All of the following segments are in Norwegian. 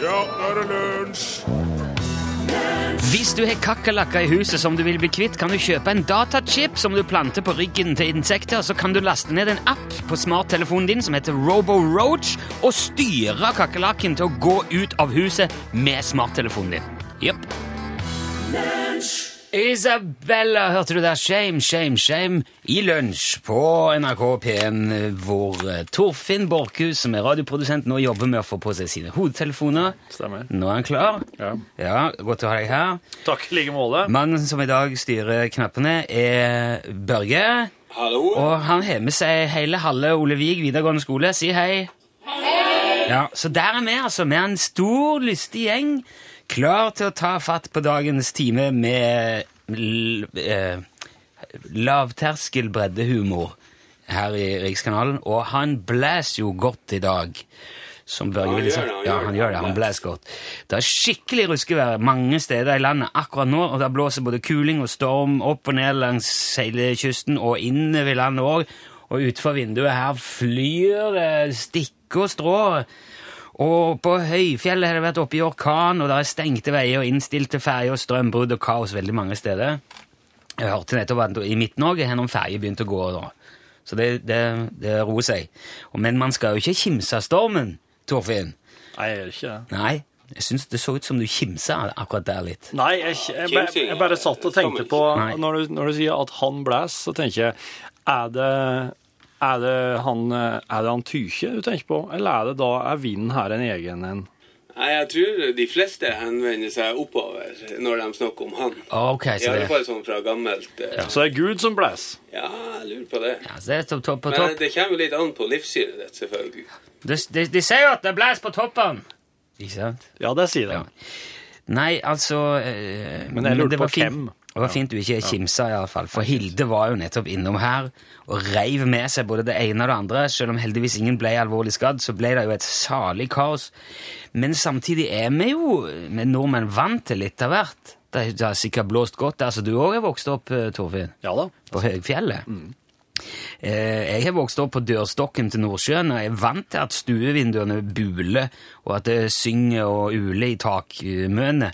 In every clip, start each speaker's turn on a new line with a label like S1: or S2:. S1: Nå er det lunsj!
S2: Hvis du har kakerlakker i huset som du vil bli kvitt, kan du kjøpe en datachip som du planter på ryggen til insekter. Så kan du laste ned en app på smarttelefonen din som heter RoboRoach, og styre kakerlakken til å gå ut av huset med smarttelefonen din. Jepp. Isabella, hørte du der? Shame, shame, shame. I lunsj på NRK P1, hvor eh, Torfinn Borchhus, som er radioprodusent, nå jobber med å få på seg sine hodetelefoner.
S3: Stemmer.
S2: Nå er han klar.
S3: Ja.
S2: Ja, Godt å ha deg her.
S3: Takk i like måte.
S2: Mannen som i dag styrer knappene, er Børge.
S4: Hallo?
S2: Og han har med seg hele halve Olevig videregående skole. Si hei. Ja, Så der er vi, altså. Vi er en stor, lystig gjeng klar til å ta fatt på dagens time med l eh, lavterskel breddehumor her i Rikskanalen. Og han blæser jo godt i dag. Som Børge
S4: Han
S2: ville
S4: gjør
S2: sagt. ja,
S4: det, han gjør
S2: han
S4: det.
S2: gjør det. Han blæser godt. Det er skikkelig ruskevær mange steder i landet akkurat nå, og det blåser både kuling og storm opp og ned langs hele kysten og innover landet òg. Og utenfor vinduet her flyr det stikk og strå. Og på høyfjellet har det vært oppe i orkan, og det er stengte veier og innstilte ferger og strømbrudd og kaos veldig mange steder. Jeg hørte nettopp at i Midt-Norge har noen ferger begynt å gå nå. Så det, det, det roer seg. Og- Men man skal jo ikke kimse av stormen, Torfinn.
S3: Nei, jeg gjør ikke det.
S2: Nei, jeg syns det så ut som du kimsa akkurat der litt.
S3: Nei, jeg, jeg, jeg, jeg bare satt og tenkte på
S2: Nei.
S3: når du, når du sier at han blæs, så tenker jeg Er det er det han, er det han Tykje du tenker på, eller er det da er vinden her en egen en?
S4: Nei, jeg tror de fleste henvender seg oppover når de snakker om han.
S2: Ok,
S4: I
S2: så
S4: alle
S2: det,
S4: fall sånn fra gammelt. eh,
S3: Så det er Gud som blæs.
S4: Ja, jeg lurer på det.
S2: ja, så det er topp, topp på
S4: Men eh,
S2: topp.
S4: det kommer jo litt an på livssynet ditt, selvfølgelig.
S2: De, de, de sier jo at det blæs på toppen! Ikke sant?
S3: Ja, det sier det.
S2: Nei, altså eh,
S3: Men jeg lurte
S2: det var
S3: på
S2: fint-
S3: hvem.
S2: Det var fint du ikke kimsa, i alle fall, for Hilde var jo nettopp innom her og reiv med seg både det ene og det andre. Selv om heldigvis ingen ble alvorlig skadd, så ble det jo et salig kaos. Men samtidig er vi jo vi nordmenn vant til litt av hvert. Det det har sikkert blåst godt der, så du òg har vokst opp, eh, Torfinn?
S3: Ja da.
S2: på høyfjellet. Eh, Jeg har vokst opp på dørstokken til Nordsjøen, og jeg er vant til at stuevinduene buler, og at det synger og uler i takmøene.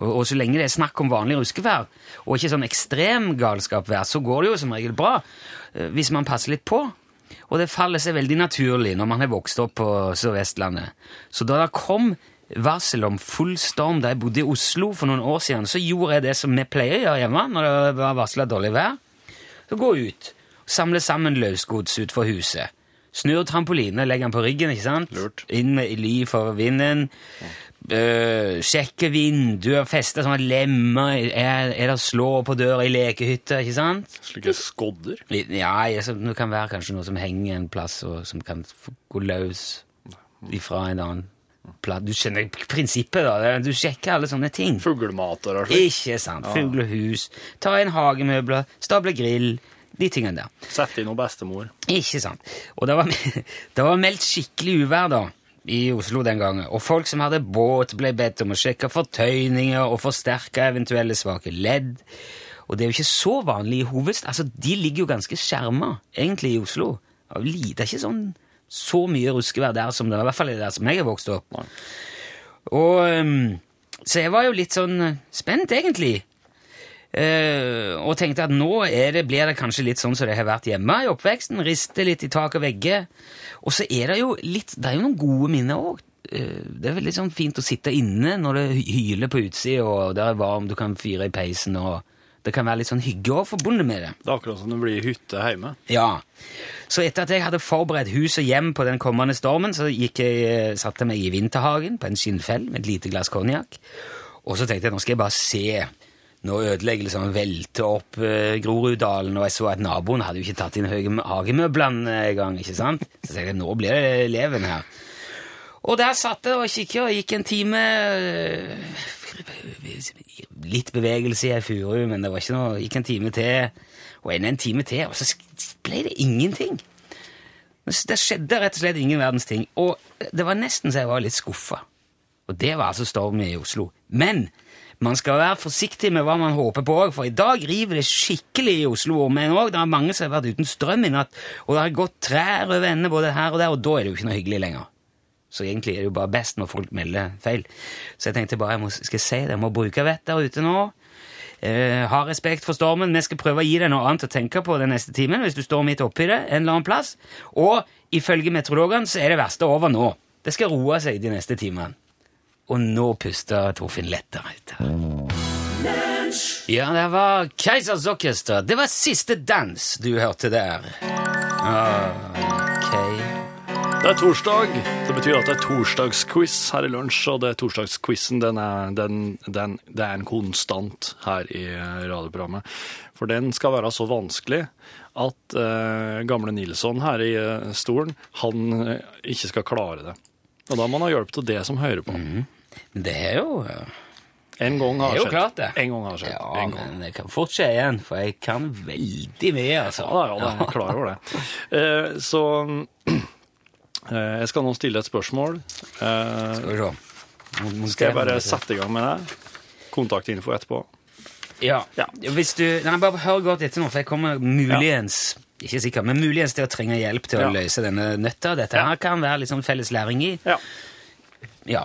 S2: Og, og så lenge det er snakk om vanlig ruskevær, og ikke sånn ekstrem galskapvær, så går det jo som regel bra, eh, hvis man passer litt på. Og det faller seg veldig naturlig når man har vokst opp på Sør-Vestlandet. Så da det kom varsel om full storm da jeg bodde i Oslo for noen år siden, så gjorde jeg det som vi pleier å gjøre hjemme når det var varsla dårlig vær. Så gå ut, samle sammen løsgods utenfor huset. Snur trampoline, legger den på ryggen, ikke sant?
S3: Lurt.
S2: Inn med ly for vinden. Øh, sjekke vinduer, feste sånne lemmer. Er, er det slå på døra i lekehytta, ikke sant?
S3: Slike skodder.
S2: Ja, jeg, som- det kan være kanskje noe som henger en plass, og som kan f- gå løs ifra en annen plass. Du skjønner prinsippet, da. Du sjekker alle sånne ting.
S3: Fuglemater og slikt.
S2: Ikke sant? Fuglehus, ta inn hagemøbler, stable grill, de tingene der.
S3: Sette inn noe bestemor.
S2: Ikke sant. Og det var, det var meldt skikkelig uvær da, i Oslo den gangen, og folk som hadde båt ble bedt om å sjekke fortøyninger og forsterke eventuelle svake ledd. Og det er jo ikke så vanlig i hovedstad. Altså, de ligger jo ganske skjerma, egentlig, i Oslo. Det er jo li- det er ikke sånn så mye ruskevær der som det er, i hvert fall er der som jeg har vokst opp. Og, ehm, så jeg var jo litt sånn spent, egentlig. Eh, og tenkte at nå er det, blir det kanskje litt sånn som det har vært hjemme i oppveksten. Riste litt i tak og vegger. Og så er det jo litt Det er jo noen gode minner òg. det er veldig sånn fint å sitte inne når det hy- hyler på utsida, og det er varmt, du kan fyre i peisen, og det kan være litt sånn hygge også forbundet med det.
S3: Det er akkurat som det blir i hytte hjemme.
S2: Ja. Så etter at jeg hadde forberedt hus og hjem på den kommende stormen, så gikk jeg, eh, satte jeg meg i vinterhagen på en skinnfell med et lite glass konjakk. Og så tenkte jeg nå skal jeg bare se når ødeleggelsene velter opp eh, Groruddalen, og jeg så at naboen hadde jo ikke tatt inn høye hagemøblene engang, ikke sant? Så tenkte jeg nå blir det leven her. Og der satt jeg og kikket og gikk en time eh, øh, Litt bevegelse i ei furu, men det var ikke noe Gikk en time til, og enda en time til, og så sk- ble det ingenting. Men s- Det skjedde rett og slett ingen verdens ting, og det var nesten så jeg var litt skuffa. Og det var altså storm i Oslo. Men man skal være forsiktig med hva man håper på òg, for i dag river det skikkelig i Oslo. Men òg det er mange som har vært uten strøm i natt, og det har gått trær over ende både her og der, og da er det jo ikke noe hyggelig lenger. Så egentlig er det jo bare best når folk melder feil. Så jeg tenkte bare jeg må, skal jeg si det, jeg må bruke vett der ute nå. Eh, ha respekt for stormen. Vi skal prøve å gi deg noe annet å tenke på den neste timen hvis du står midt oppi det en eller annen plass. Og ifølge meteorologene så er det verste over nå. Det skal roe seg de neste timene. Og nå puster Torfinn lettere ut. her. Ja, det var Keisers Orkester. Det var siste dans du hørte der. Ah, Ok.
S3: Det er torsdag. Det betyr at det er torsdagsquiz her i lunsj, og det er torsdagsquizen den er, den, den, det er en konstant her i radioprogrammet. For den skal være så vanskelig at eh, gamle Nilsson her i eh, stolen, han eh, ikke skal klare det. Og da må han ha hjelp til det som hører på.
S2: Men det er jo eh,
S3: En gang har
S2: Det er jo
S3: skjedd.
S2: klart, det.
S3: En gang har skjedd.
S2: Ja,
S3: en gang.
S2: men det kan fort skje igjen, for jeg kan veldig mye, altså.
S3: Ja, ja, da er jeg klar over det. Eh, så eh, jeg skal nå stille et spørsmål. Eh,
S2: Skal vi se. Må- må-
S3: skal jeg bare sette i gang med det? Kontaktinfo etterpå.
S2: Ja.
S3: Ja.
S2: Hvis du Nei, bare hør godt etter nå, for jeg kommer muligens Ikke sikker, men muligens til å trenge hjelp til å
S3: Ja.
S2: løse denne nøtta. Dette
S3: Ja.
S2: her kan være litt sånn felles læring i.
S3: Ja.
S2: Ja.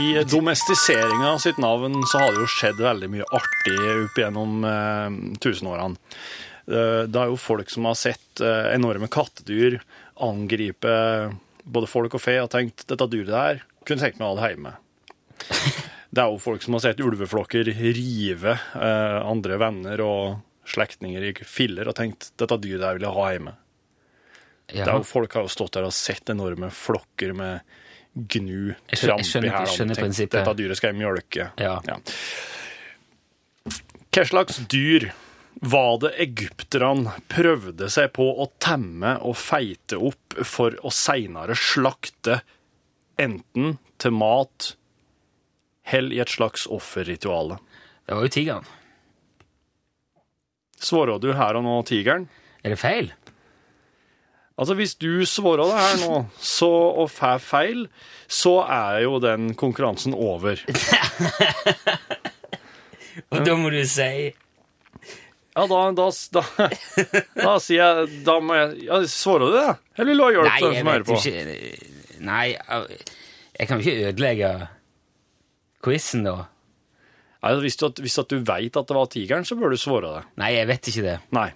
S3: I domestiseringa sitt navn så har det jo skjedd veldig mye artig opp gjennom eh, tusenårene. Eh, Det er jo folk som har sett eh, enorme kattedyr angripe eh, både folk og fe og tenkt dette dyret der kunne tenkt meg å ha det hjemme. Det er jo folk som har sett ulveflokker rive eh, andre venner og slektninger i filler og tenkt dette dyret der vil jeg ha hjemme.
S2: ja.
S3: Det er jo, folk har jo stått der og sett enorme flokker med gnu,
S2: Jeg skjønner- jeg
S3: tramp i
S2: skjønner- jeg
S3: hælene.
S2: skjønner
S3: Tenk,
S2: prinsippet.
S3: Dette dyret skal jeg mjølke.
S2: Ja.
S3: Hva slags dyr var det egypterne prøvde seg på å temme og feite opp for å seinere slakte enten til mat eller i et slags offerrituale?
S2: Det var jo tigeren.
S3: Svarer du her og nå tigeren?
S2: Er det feil?
S3: Altså, hvis du svarer det her nå, så, og får feil, så er jo den konkurransen over.
S2: Og da må du si
S3: Ja, da, da, da, da sier jeg Da må jeg ja, Svarer du det? Eller vil du ha hjelp
S2: Nei,
S3: til den
S2: jeg
S3: som hører
S2: vet
S3: på?
S2: ikke Nei, jeg kan jo ikke ødelegge quizen, da.
S3: Nei, hvis du, at- hvis at du veit at det var tigeren, så bør du svare det.
S2: Nei, jeg vet ikke det.
S3: Nei.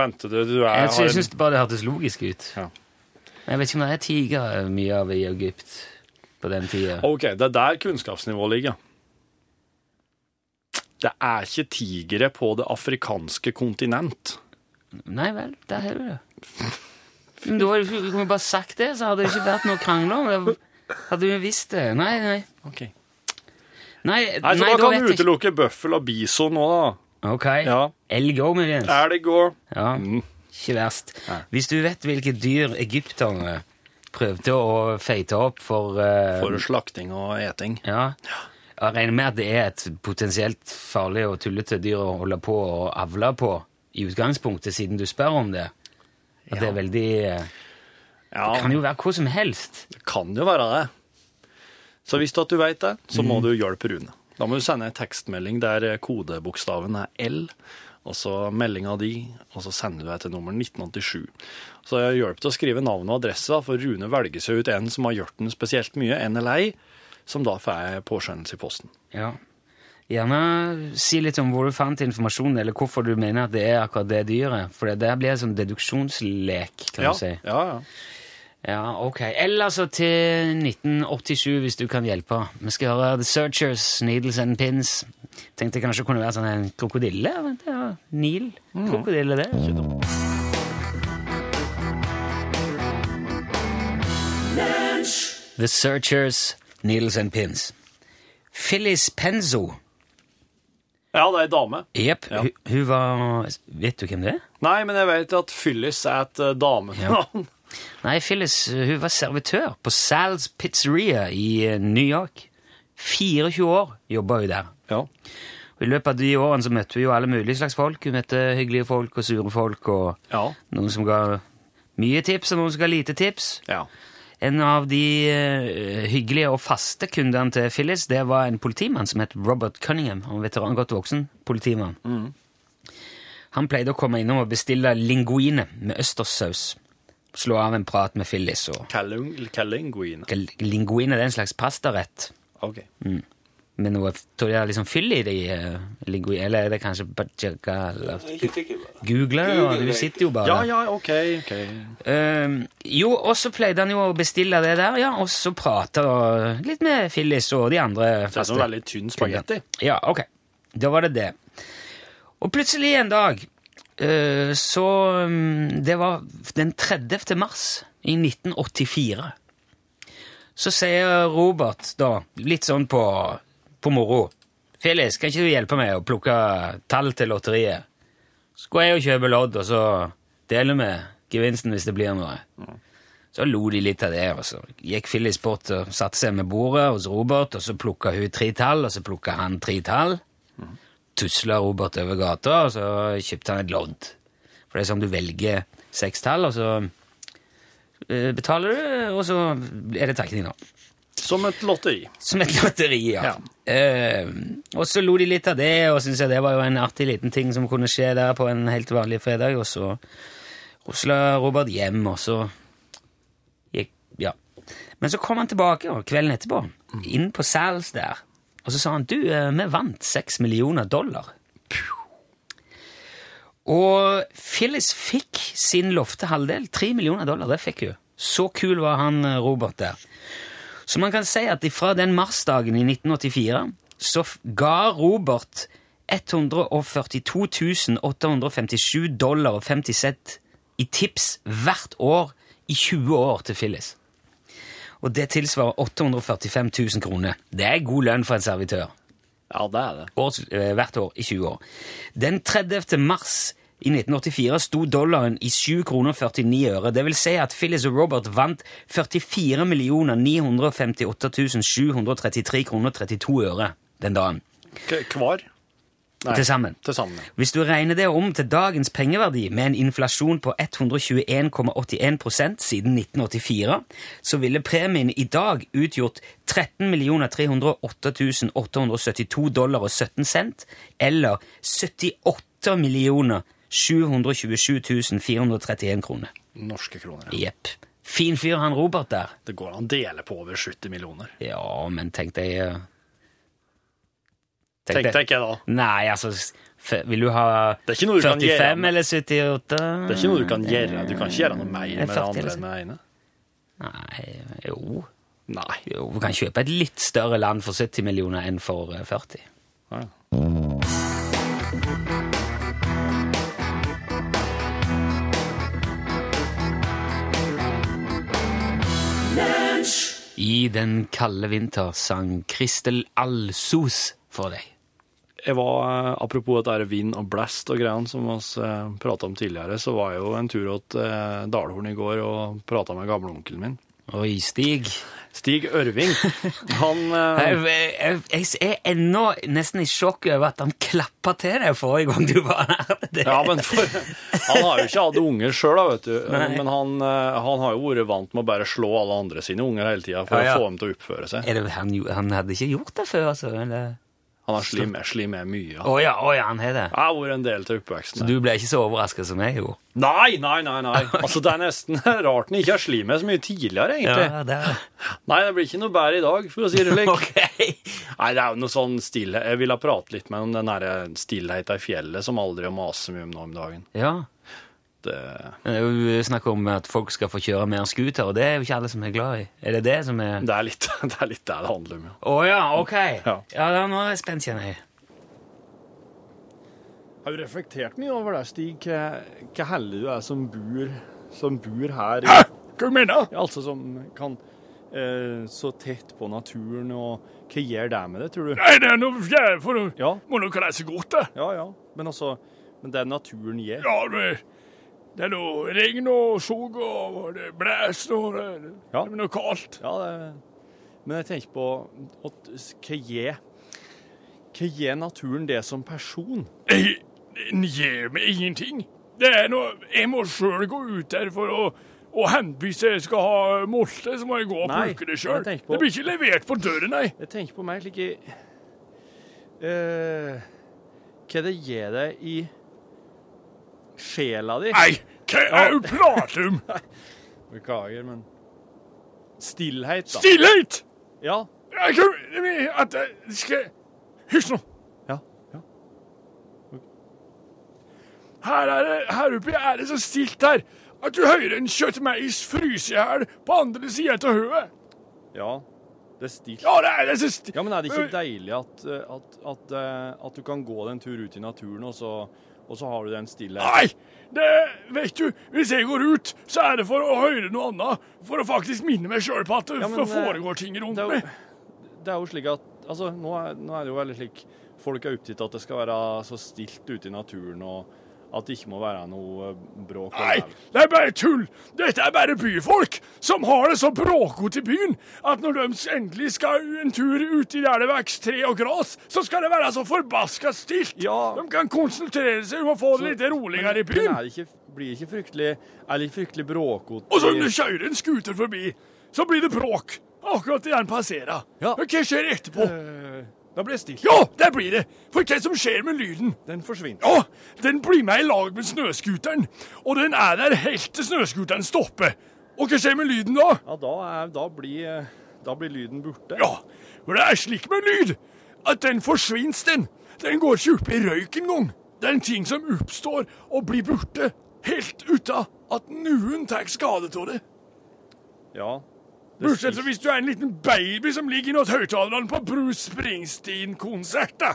S3: Vente du, du er
S2: Jeg, sy-
S3: har
S2: jeg
S3: en-
S2: syns bare det hørtes logisk ut.
S3: Ja.
S2: Men jeg vet ikke om det er tiger eh, mye av i Egypt på den tida.
S3: OK, det er der kunnskapsnivået ligger. Det er ikke tigere på det afrikanske kontinent.
S2: Nei vel, der har du det. Men da hadde du kunne du bare sagt det, så hadde det ikke vært noe å krangle om. Det hadde vi visst det. Nei, nei.
S3: Ok.
S2: Nei,
S3: Nei, så
S2: nei, da
S3: da kan
S2: vet
S3: du
S2: jeg ikke.
S3: utelukke bøffel og bison nå, da.
S2: Ok.
S3: Ja.
S2: Elg òg, muligens.
S3: Elg og
S2: Ja,
S3: Mm.
S2: ikke verst.
S3: Nei.
S2: Hvis du vet hvilke dyr egypterne prøvde å feite opp for, eh,
S3: For slakting og eting.
S2: Ja. Jeg regner med at det er et potensielt farlig og tullete dyr å holde på å avle på i utgangspunktet, siden du spør om det. At det er veldig eh,
S3: Ja,
S2: Kan jo være hva som helst.
S3: det kan jo være det. Så hvis du, at du vet det, så må du hjelpe Rune. Da må du sende en tekstmelding der eh, kodebokstaven er L, og så meldinga di, og så sender du deg til nummer 1987. Så hjelp til å skrive navn og adresse, da, for Rune velger seg ut en som har gjort den spesielt mye, en eller ei, som da får påskjønnelse i posten.
S2: Ja. Gjerne si litt om hvor du fant informasjonen, eller hvorfor du mener at det er akkurat det dyret. For det der blir en sånn deduksjonslek, kan
S3: ja,
S2: du si.
S3: ja, ja.
S2: Ja, ok. Eller altså til 1987, hvis du kan hjelpe. Vi skal høre The Searchers, Needles and Pins. Tenkte kanskje det kunne være sånn en krokodille? Vent, ja. Nil? Krokodille, det? er ikke dumt. The Searchers, Needles and Pins. Phyllis Penzo.
S3: Ja, det er ei dame.
S2: Jepp,
S3: Ja.
S2: hun, hun var Vet du hvem det er?
S3: Nei, men jeg vet at Fyllis er et eh, damenavn.
S2: Nei, Phyllis eh, hun var servitør på Sal's Pizzeria i eh, New York. 24 år jobba hun der.
S3: Ja.
S2: Og I løpet av de årene så møtte hun jo alle mulige slags folk. Hun møtte hyggelige folk og sure folk, og
S3: Ja.
S2: noen som ga mye tips, og noen som ga lite tips.
S3: ja.
S2: En av de eh, hyggelige og faste kundene til Phyllis, det var en politimann som het Robert Cunningham. Han var veteran, godt voksen politimann. Han pleide å komme innom og bestille linguine med østerssaus. slå av en prat med Phyllis og
S3: Calung- Calinguina.
S2: Linguine det er en slags pastarett.
S3: Ok.
S2: Med noe tror jeg det er liksom fyll i det i eh, linguine, eller er det kanskje bajaka, eller-
S4: Jeg er ikke sikker på det.
S2: Google det, da.
S4: Google
S2: Du
S4: det.
S2: sitter jo bare
S3: Ja, ja, ok. ok.
S2: Ehm, jo, og så pleide han jo å bestille det der, ja, og så prate og litt med Phyllis og de andre.
S3: Så det er
S2: faste
S3: noe veldig tynn spagetti.
S2: kundene. Ja, ok. Da var det det. Og plutselig en dag, eh, så mm, Det var den 30. mars i 1984. Så sier Robert, da, litt sånn på, på moro Phyllis, kan ikke du hjelpe meg å plukke tall til lotteriet? Så går jeg og kjøper lodd, og så deler vi gevinsten hvis det blir noe. Så lo de litt av det, og så gikk Phyllis bort og satte seg med bordet hos Robert, og så plukka hun tre tall, og så plukka han tre tall. Tusla Robert over gata, og så kjøpte han et lodd. For det er sånn du velger seks tall, og så eh, betaler du, og så er det trekning, da.
S3: Som et lotteri.
S2: Som et lotteri, ja. Eh, og så lo de litt av det, og syntes at det var jo en artig liten ting som kunne skje der på en helt vanlig fredag, og så rusla Robert hjem, og så gikk Ja. Men så kom han tilbake og kvelden etterpå, inn på Sals der, og så sa han du, eh, vi vant seks millioner dollar. Og Phyllis fikk sin lovte halvdel. Tre millioner dollar, det fikk hun. Så kul var han eh, Robert der. Så man kan si at fra den marsdagen i 1984 så f- ga Robert 142 857 dollar og 50 cent i tips hvert år i 20 år til Phyllis. Og det tilsvarer 845 000 kroner. Det er god lønn for en servitør
S3: Ja, det er det.
S2: års, eh, hvert år i 20 år. Den 30. mars i 1984 sto dollaren i 7 kroner 49 øre. Det vil si at Phyllis og Robert vant 44 958 733 kroner 32 øre den dagen.
S3: K hver? Nei,
S2: Til sammen.
S3: Til sammen. ja.
S2: Hvis du regner det om til dagens pengeverdi med en inflasjon på 121,81 siden 1984, så ville premien i dag utgjort 13 308 872 dollar og 17 cent, eller 78 727 431 kroner.
S3: Norske kroner. Ja.
S2: Jepp. Fin fyr han Robert der.
S3: Det går an å dele på over 70 millioner.
S2: Ja, men tenk deg eh, tenk
S3: Tenkte
S2: deg-
S3: jeg ikke da.
S2: Nei, altså f- Vil du ha
S3: Det er ikke noe du kan
S2: 45
S3: gjøre.
S2: eller 78?
S3: Det er ikke noe du kan gjøre. Du kan ikke gjøre noe mer
S2: er
S3: med Mm, det
S2: 40
S3: andre
S2: liksom.
S3: enn med det ene.
S2: Nei, jo.
S3: Nei.
S2: jo Du kan kjøpe et litt større land for 70 millioner enn for eh, 40.
S3: Ja.
S2: I den kalde vinter sang Kristel Alsos for deg.
S3: Jeg var, eh, apropos at det er vind og blast og greiene som vi prata om tidligere, så var jeg jo en tur åt eh, Dalhorn i går og prata med gamleonkelen min.
S2: Oi, Stig.
S3: Stig Ørving. Han eh,
S2: Jeg, jeg, jeg jeg er ennå nesten i sjokk over at han klappa til deg forrige gang du var her. Det-
S3: Ja, men for, han har jo ikke hatt unger sjøl, vet du. Men han, eh, han har jo vært vant med å bare slå alle andre sine unger hele tida for
S2: Ja, ja.
S3: å få dem til å oppføre seg.
S2: Er det, han, jo- han hadde ikke gjort det før, altså? eller?
S3: Han har slim, slim med mye.
S2: Å
S3: Han
S2: ja, å ja, han har det.
S3: Jeg har vært en del av oppveksten.
S2: Du ble ikke så overraska som jeg gjorde.
S3: Nei, nei, nei. nei. Altså, Det er nesten rart han ikke har slim med så mye tidligere, egentlig.
S2: Ja, det er-
S3: Nei, det blir ikke noe bedre i dag, for å si det slik.
S2: Ok.
S3: Nei, det er jo noe sånn stillhet Jeg ville prate litt med om den derre stillheta i fjellet som aldri maser mye om nå om dagen.
S2: Ja.
S3: Det,
S2: Men Det er jo eh, snakk om at folk skal få kjøre mer scooter, og det er jo ikke alle som er glad i. Er det det som er Å
S3: det, er, litt, det er litt det det handler om, ja.
S2: ja, ok. Ja,
S3: Ja.
S2: da, nå er jeg spent, kjenner jeg.
S3: Har du reflektert mye over det, Stig? Hva, hva heldig du er som bor, som bor her
S1: Ah!
S3: i,
S1: Hva mener du?
S3: Altså som kan eh, så tett på naturen, og hva gjør det med det, tror du?
S1: Nei, det er noe fjær for noe.
S3: Ja,
S1: Må noe reise godt, da.
S3: ja, ja. Men altså Men det naturen gjør
S1: Ja, det, det er noe regn og sol og det blæst og det,
S3: Ja.
S1: det er noe kaldt.
S3: Ja, det Men jeg tenker på at, hva gjør Hva gjør naturen det som person?
S1: Jeg- Den gir meg ingenting. Det er noe, jeg må sjøl gå ut der for å og hente hvis jeg skal ha molte, så må jeg gå og
S3: Nei,
S1: bruke det sjøl.
S3: jeg tenker
S1: Det
S3: på-
S1: blir ikke levert på døren, nei.
S3: Jeg tenker på meg like eh, Hva det gir deg i sjela di?
S1: Nei, hva er det du prater om?
S3: Beklager, men Stillhet, da.
S1: Stillhet!
S3: Ja.
S1: Jeg kan- jeg mener at jeg skal Hysj nå.
S3: Ja.
S1: Her, er det, her oppe er det så stilt her at du hører en kjøttmeis fryse i hjel på andre sida av høet.
S3: ja. Det er stilt.
S1: Ja, det er det så stilt.
S3: Ja, men er det ikke deilig at, eh, at, at, eh, at du kan gå deg en tur ut i naturen, og så, og så har du den stillheten?
S1: Nei! Det vet du, hvis jeg går ut, så er det for å høre noe annet. For å faktisk minne meg sjøl på at det
S3: Ja, men, eh,
S1: foregår ting rundt
S3: det er jo-
S1: meg.
S3: Det er jo slik at Altså, nå er, nå er det jo veldig slik Folk er opptatt av at det skal være så stilt ute i naturen, og at det ikke må være noe eh, bråk. og
S1: Nei,
S3: mæl.
S1: det er bare tull! Dette er bare byfolk som har det så bråkete i byen at når de endelig skal en tur uti der det vokser tre og gras, så skal det være så forbaska stilt!
S3: Ja.
S1: De kan konsentrere seg om å få det litt roligere i
S3: Men
S1: byen.
S3: er det ikke, blir det ikke fryktelig Er det ikke fryktelig bråkete?
S1: Og så når du kjører en scooter forbi, så blir det bråk akkurat idet den passerer.
S3: Ja.
S1: Men Hva skjer etterpå?
S3: Da blir det stilt.
S1: Ja, der blir det! For hva som skjer med lyden?
S3: Den forsvinner.
S1: Ja, den blir med i lag med snøscooteren, og den er der helt til snøscooteren stopper. Og hva skjer med lyden da?
S3: Ja, da, er, da, blir, eh, da blir lyden borte.
S1: Ja, for det er slik med lyd, at den forsvinns den. Den går ikke opp i røyk engang. Det er en ting som oppstår og blir borte, helt uten at noen tar skade av det.
S3: Ja. Det
S1: Bortsett fra hvis du er en liten baby som ligger i noen høyttalerne på Bruce Springsteen-konsert, da.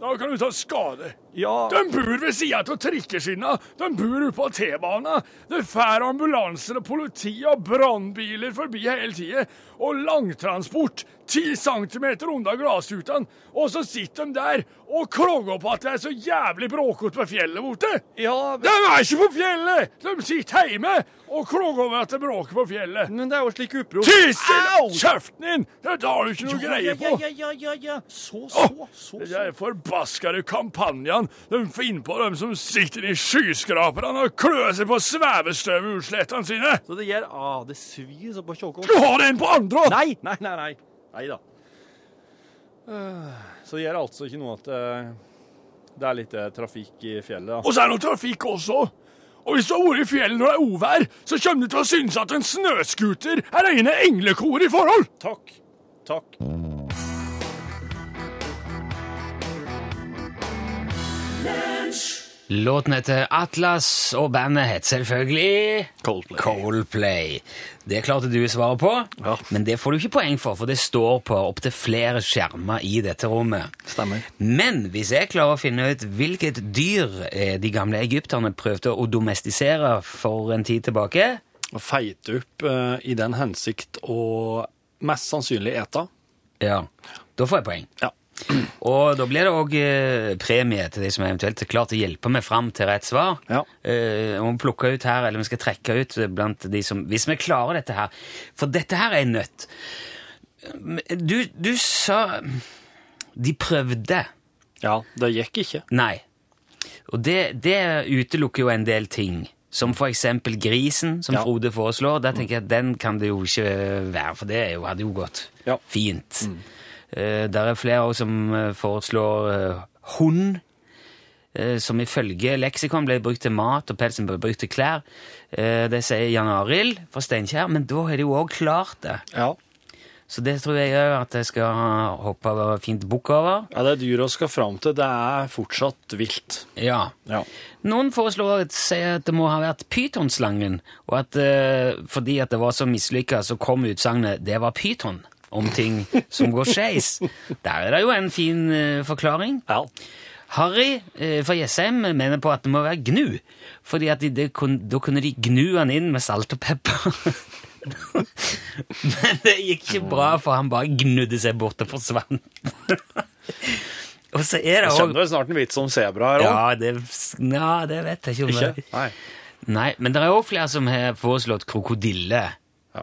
S1: Da kan du ta skade.
S3: Ja.
S1: De bor ved sida av trikkeskinna, de bor ute på T-bana. Det fer ambulanser og politi og brannbiler forbi hele tida. Og langtransport ti centimeter unna grasrutene. Og så sitter de der og klager på at det er så jævlig bråkete på fjellet borte.
S3: ja
S1: De er ikke på fjellet! De sitter hjemme og klager over at det bråker på fjellet.
S3: men det er jo slik opprop. Au!
S1: Tissel! Kjeften din! Dette har du ikke noe greie på!
S3: Ja, ja, ja, ja. Så, så,
S1: Åh,
S3: så.
S1: Det
S3: så.
S1: der forbaskede kampanjen de finner på dem som sitter i skyskraperne og klør seg på svevestøvutslettene sine!
S3: Så det gjør ah, Det svir så på
S1: Du
S3: kjåkon.
S1: har den på andre! også.
S3: Nei, nei, nei. Nei, nei da. Eh, Så det gjør altså ikke noe at eh, det er litt eh, trafikk i fjellet. da.
S1: Og så er det noe trafikk også. Og hvis du har vært i fjellet når det er uvær, så kommer du til å synes at en snøscooter er rene englekor i forhold!
S3: Takk. Takk.
S2: Låten heter Atlas, og bandet het selvfølgelig
S3: Coldplay.
S2: Coldplay. Det klarte du å svare på,
S3: Ja.
S2: men det får du ikke poeng for, for det står på opptil flere skjermer i dette rommet.
S3: Stemmer.
S2: Men hvis jeg klarer å finne ut hvilket dyr eh, de gamle egypterne prøvde å domestisere for en tid tilbake
S3: og feite opp eh, i den hensikt å mest sannsynlig ete.
S2: Ja, da får jeg poeng.
S3: Ja.
S2: Og da blir det òg eh, premie til de som eventuelt er klart å hjelpe meg fram til rett svar.
S3: Ja.
S2: Eh, om vi plukker ut her, eller vi skal trekke ut eh, blant de som Hvis vi klarer dette her. For dette her er en nøtt. Du, du sa De prøvde.
S3: ja, det gikk ikke.
S2: Nei. Og det, det utelukker jo en del ting. Som for eksempel grisen, som
S3: Ja. Mm.
S2: Frode foreslår. Der tenker jeg at den kan det jo ikke være, for det er jo, hadde jo gått
S3: Ja. Mm.
S2: fint. Eh, der er flere også som eh, foreslår eh, hund, eh, som ifølge leksikon ble brukt til mat, og pelsen ble brukt til klær. Eh, det sier Jan Arild fra Steinkjer, men da har de jo òg klart det.
S3: Ja.
S2: Så det tror jeg òg at jeg skal hoppe over, fint bukk over.
S3: Det dyra skal fram til, det er fortsatt vilt.
S2: Ja.
S3: Ja.
S2: Noen foreslår at, sier at det må ha vært pytonslangen, og at eh, fordi at det var så mislykka, så kom utsagnet 'det var pyton' om ting som går skeis. Der er det jo en fin eh, forklaring.
S3: ja.
S2: Harry eh, fra Jessheim mener på at det må være gnu, fordi at de, det kun, da kunne de gnu han inn med salt og pepper. Men det gikk ikke bra, for han bare gnudde seg bort og forsvant. og så er det
S3: Jeg
S2: òg
S3: skjønner vel snart en vits om sebra her òg.
S2: ja, det, ja, det vet jeg ikke om det
S3: Ikke? Nei.
S2: Nei, men det er også flere som har foreslått krokodille.
S3: Ja.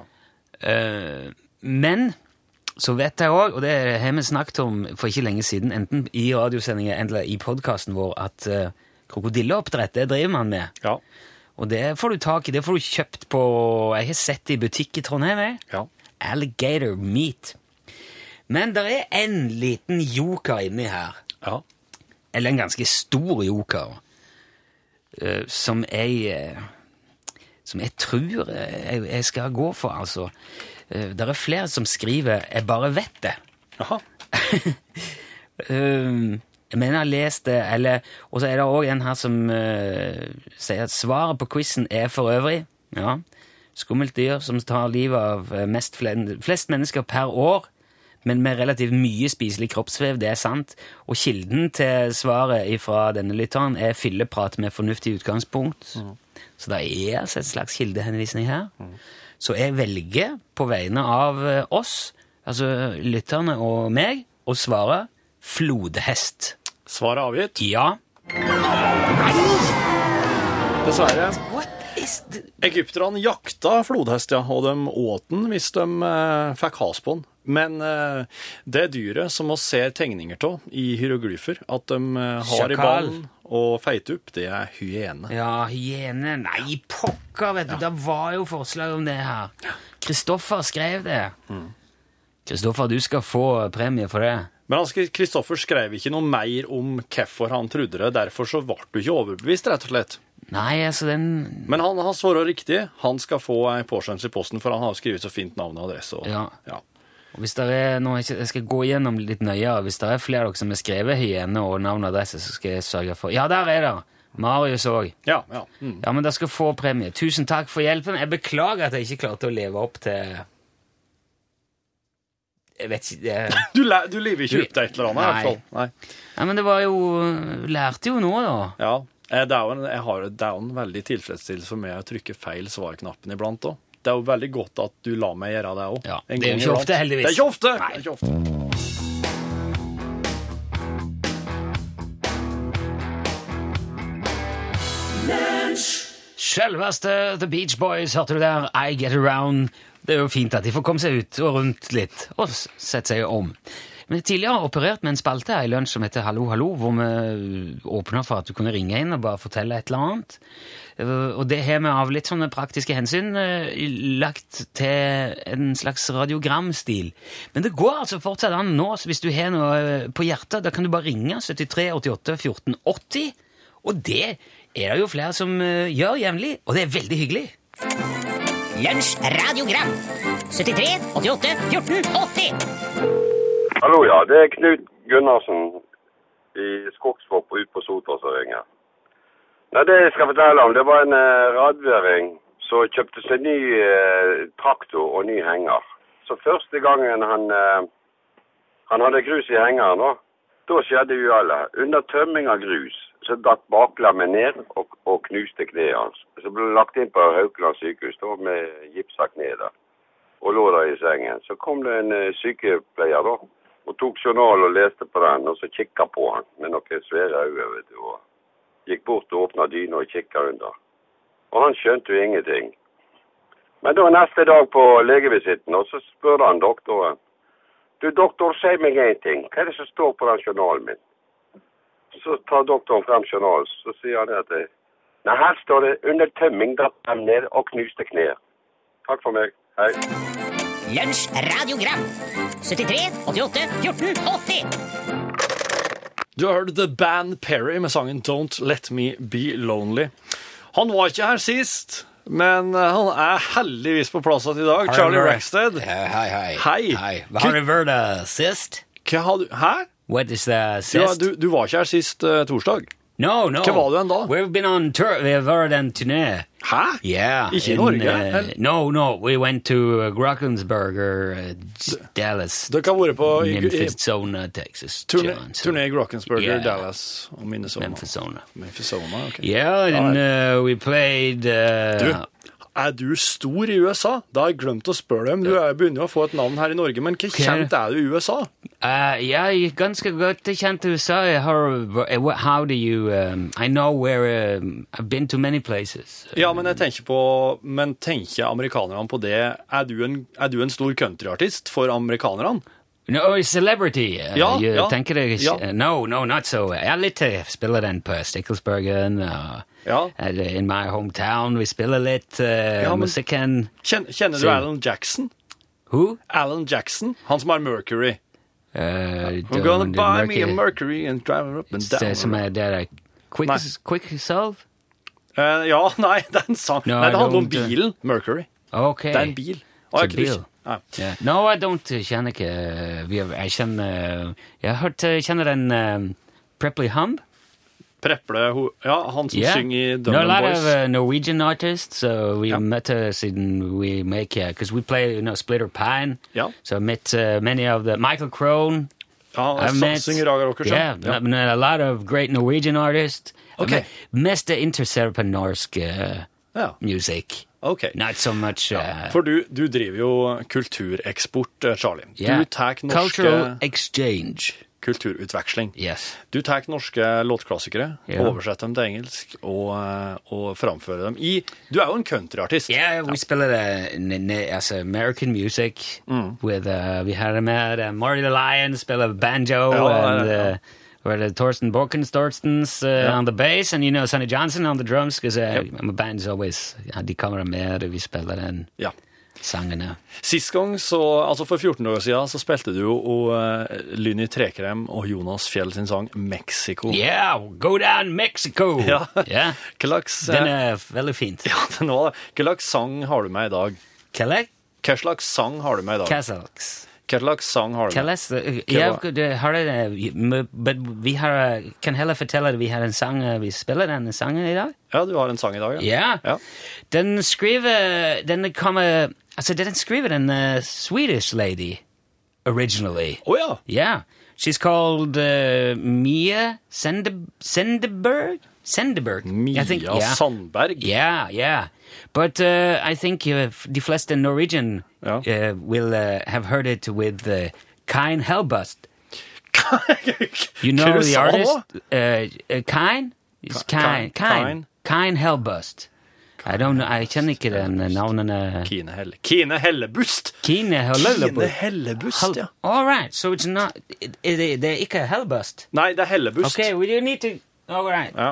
S2: Eh, men så vet jeg òg, og det har vi snakket om for ikke lenge siden, enten i radiosendinger eller i podkasten vår, at eh, krokodilleoppdrett, det driver man med.
S3: Ja.
S2: Og det får du tak i, det får du kjøpt på Jeg har sett det i butikk i Trondheim, jeg.
S3: Ja.
S2: Alligator meat. Men det er en liten joker inni her
S3: ja.
S2: eller en ganske stor joker, eh, som jeg eh, som jeg tror eh, jeg, jeg skal gå for, altså. Det er flere som skriver 'Jeg bare vet det'.
S3: Jaha.
S2: Um, jeg mener jeg har lest det, eller Og så er det òg en her som eh, sier at svaret på quizen er for øvrig ja, skummelt dyr som tar livet av eh, mest flen- flest mennesker per år, men med relativt mye spiselig kroppsvev, det er sant. Og kilden til svaret fra denne lytteren er fylleprat med fornuftig utgangspunkt. Så det er altså et slags kildehenvisning her. Så jeg velger på vegne av eh, oss, altså lytterne og meg, å svare flodhest.
S3: Svaret er avgitt.
S2: Ja.
S3: Dessverre.
S2: What is the...
S3: Egypterne jakta flodhest, ja, og de åt den hvis de eh, fikk has på den. Men eh, det dyret som vi ser tegninger av i hieroglyfer, at de eh, har i
S2: Sjakal.
S3: ballen og feiter opp, det er hyene.
S2: Ja, hyene. Nei, pokker, vet du. Det var jo forslag om det her. Kristoffer skrev det. Kristoffer, Mm. du skal få premie for det.
S3: Men han skri- Kristoffer skrev ikke noe mer om hvorfor han trodde det, derfor så ble du ikke overbevist, rett og slett.
S2: Nei, altså den
S3: Men han har svara riktig. Han skal få ei påskjønnelse i posten, for han har skrevet så fint navn og adresse. Og,
S2: Ja.
S3: ja.
S2: og Hvis det er nå, ikke- Jeg skal gå gjennom litt nøyere. Hvis det er flere av dere som har skrevet hyene og navn og adresse, så skal jeg sørge for Ja, der er det! Marius òg.
S3: Ja, ja. Mm.
S2: Ja, men dere skal få premie. Tusen takk for hjelpen. Jeg beklager at jeg ikke klarte å leve opp til Jeg vet ikke det...
S3: Du, le, du lever ikke opp til et eller annet, i
S2: Nei.
S3: hvert fall. Nei.
S2: Nei, men det var jo Lærte jo nå, da.
S3: Ja, eh, det er jo en, jeg har, det er jo en veldig tilfredsstillelse for meg å trykke feil svarknappen iblant òg. Det er jo veldig godt at du lar meg gjøre det òg.
S2: Ja, det er jo ikke ofte, heldigvis.
S3: Det er ikke ofte!
S2: Nei.
S3: Det er ikke ofte.
S2: Selveste The Beach Boys, hørte du der? I Get Around. Det er jo fint at de får komme seg ut og rundt litt, og s- sette seg om. Men tidligere har jeg operert med en spalte her i lunsj som heter Hallo, hallo, hvor vi eh, åpner for at du kunne ringe inn og bare fortelle et eller annet. Eh, Og det har vi av litt sånne praktiske hensyn eh, lagt til en slags radiogramstil. Men det går altså fortsatt an nå, så hvis du har noe eh, på hjertet, da kan du bare ringe 73 88 14 80. Og det er det jo flere som eh, gjør jevnlig, og det er veldig hyggelig.
S5: Lunsj radiogram 73 88 14 80
S6: Hallo, ja. Det er Knut Gunnarsen i Skogsvopp og ut på Sotra som ringer. Nei, det jeg skal fortelle om, det var en eh, radværing som kjøpte seg ny eh, traktor og ny henger. Så første gangen han, eh, han hadde grus i hengeren, da, da skjedde uhellet. Under tømming av grus så datt baklemmet ned og, og knuste kneet hans. Så ble han lagt inn på Haukeland sykehus da, med gipsa kne der og lå der i sengen. Så kom det en eh, sykepleier da, og tok journal og leste på den, og så kikka på han med noen svære øyne, vet du, og gikk bort og åpna dyna og kikka under. Og han skjønte jo ingenting. Men da neste dag på legevisitten, og så spurte han doktoren. Du, doktor, si meg én ting. Hva er det som står på den journalen min? Så tar doktoren frem journalen, så sier han at eh, Nei, her står det 'under tømming datt dem ned og knuste kneet'. Takk for meg. Hei.
S5: Lunsj radiogram 73 88 14 80
S3: Du har hørt The Band Perry med sangen Don't Let Me Be Lonely. Han var ikke her sist, men han er heldigvis på plass igjen i dag. Charlie Rackstead.
S2: hei, hei.
S3: Hei.
S2: Hva har du vært eh, sist?
S3: Hva har du Hæ?
S2: What is the sist?
S3: Ja, du, du var ikke her sist eh, torsdag.
S2: no, no.
S3: Hva var du enn da?
S2: We've been on tour. We've vært en turné.
S3: Hæ?
S2: Yeah.
S3: Ikke i
S2: in,
S3: Norge?
S2: eh,
S3: eller?
S2: no, no. We went to uh, Grockensburg or uh, d- Dallas,
S3: Dere har vært på i, i,
S2: Memphis, Zona, Texas.
S3: turné,
S2: Johnson.
S3: turné i Grockensburger,
S2: Yeah.
S3: Dallas og Minnesota.
S2: Memphis, Zona.
S3: Memphisoma, ok.
S2: Yeah, and uh, we played... Uh,
S3: Du, er du stor i USA? Da har jeg glemt å spørre dem. Du er- begynner jo å få et navn her i Norge, men hvor kjent er du i USA?
S2: Uh, yeah, jeg er ganske godt kjent i USA. Jeg har, eh, how do you um, I know where um, I've been to many places.
S3: Ja, men jeg tenker på Men tenker amerikanerne på det Er du en, er du en stor countryartist for amerikanerne?
S2: No, a celebrity. Uh,
S3: Ja,
S2: you
S3: ja,
S2: tenker deg
S3: ja.
S2: uh, No, no, not so. Jeg er litt uh, spiller den på Stikkelsbergen. Uh,
S3: Ja.
S2: uh, In my hometown, vi spiller litt uh,
S3: Ja, men-
S2: musikken.
S3: Kjen, kjenner du
S2: Si.
S3: Alan Jackson?
S2: Who?
S3: Alan Jackson, han som er Mercury.
S2: Uh,
S3: We're gonna buy me a Mercury and drive her up and
S2: Det som
S3: down.
S2: er det der Quick,
S3: Nei.
S2: quick Solve?
S3: Eh, ja, nei, det er en sang.
S2: No,
S3: nei,
S2: I
S3: det handler om
S2: don't, uh,
S3: bilen. Mercury.
S2: Ok.
S3: Det er en bil.
S2: Så
S3: Ah, jeg,
S2: bil.
S3: bil. Nei.
S2: Ja. No, I don't. uh, Jeg kjenner ikke eh, vi har- Jeg kjenner Jeg har hørt eh, Kjenner den eh, Prepley Humb?
S3: Preple ho- Ja, han som
S2: Yeah.
S3: synger i
S2: no, a
S3: Dumb
S2: lot
S3: Boys.
S2: of uh, Norwegian artists. So we
S3: Yeah.
S2: met us in we make because we play you know Splitter Pine.
S3: Yeah.
S2: So I met uh, many of the Michael Crone.
S3: ja,
S2: I
S3: han
S2: met
S3: synger Raga Rockers.
S2: yeah, I met a lot of great Norwegian artists. I
S3: Okay.
S2: met, mest interserpa norsk uh,
S3: Ja.
S2: music.
S3: Ok.
S2: Not so much. Uh,
S3: For du, du driver jo kultureksport, eh, Charlie.
S2: yeah.
S3: Du uh, tar norske
S2: cultural exchange.
S3: kulturutveksling.
S2: Yes.
S3: Du tar norske låtklassikere,
S2: Ja.
S3: oversetter dem til engelsk og, eh, og framfører dem i Du er jo en countryartist.
S2: Yeah, we spell it uh, n- n- as American music
S3: Mm.
S2: with uh, we had him at uh, Marty the Lion spell of banjo
S3: Oh, I
S2: and
S3: don't know.
S2: uh, where the Torsten Borkens Torstens uh, on the bass and you know Sonny Johnson on the drums because uh, my band's always ja, de kommer med og vi spiller den
S3: Ja.
S2: sangene.
S3: Sist gang, så, altså for 14 dager siden, så spilte du jo og, eh, Lynni Trekrem og Jonas Fjell sin sang 'Mexico'.
S2: Yeah, go down Mexico.
S3: Ja.
S2: yeah.
S3: Hva slags, eh,
S2: Den er veldig fint.
S3: ja, den var det. Hva slags sang har du med i dag?
S2: Kelle?
S3: Hva slags sang har du med i dag?
S2: Castles.
S3: Hva slags sang har du med?
S2: Kalles, jeg øh, det har det, men- men vi har, øh, kan heller fortelle at vi har en sang, eh, vi spiller den sangen i dag.
S3: Ja, du har en sang i dag,
S2: Ja.
S3: Ja.
S2: Den skriver, den kommer, altså er den skriver en eh, Swedish lady, originally.
S3: Å ja!
S2: Yeah, she's called uh, Mia Sende, Sendeberg? Sendeberg.
S3: Mia
S2: I think, yeah.
S3: Sandberg.
S2: Yeah, yeah. But uh, I think uh, the flest in Norwegian
S3: Ja.
S2: uh, will uh, have heard it with uh, Kine Hellbust. You
S3: Hva
S2: know
S3: du
S2: the
S3: sa
S2: artist?
S3: nå?
S2: Uh, uh, Kine? It's
S3: Ki-
S2: Kine.
S3: Kine.
S2: Kine. Kine Hellbust. I don't know, jeg kjenner ikke den eh, navnene.
S3: Kine, Helle. Kine Hellebust.
S2: Kine
S3: Kine
S2: Hellbust.
S3: Hellebust, ja.
S2: All right, so it's not, it, it, det er ikke Hellbust.
S3: Nei, det er Hellebust.
S2: Okay, we do need to. All right.
S3: Ja.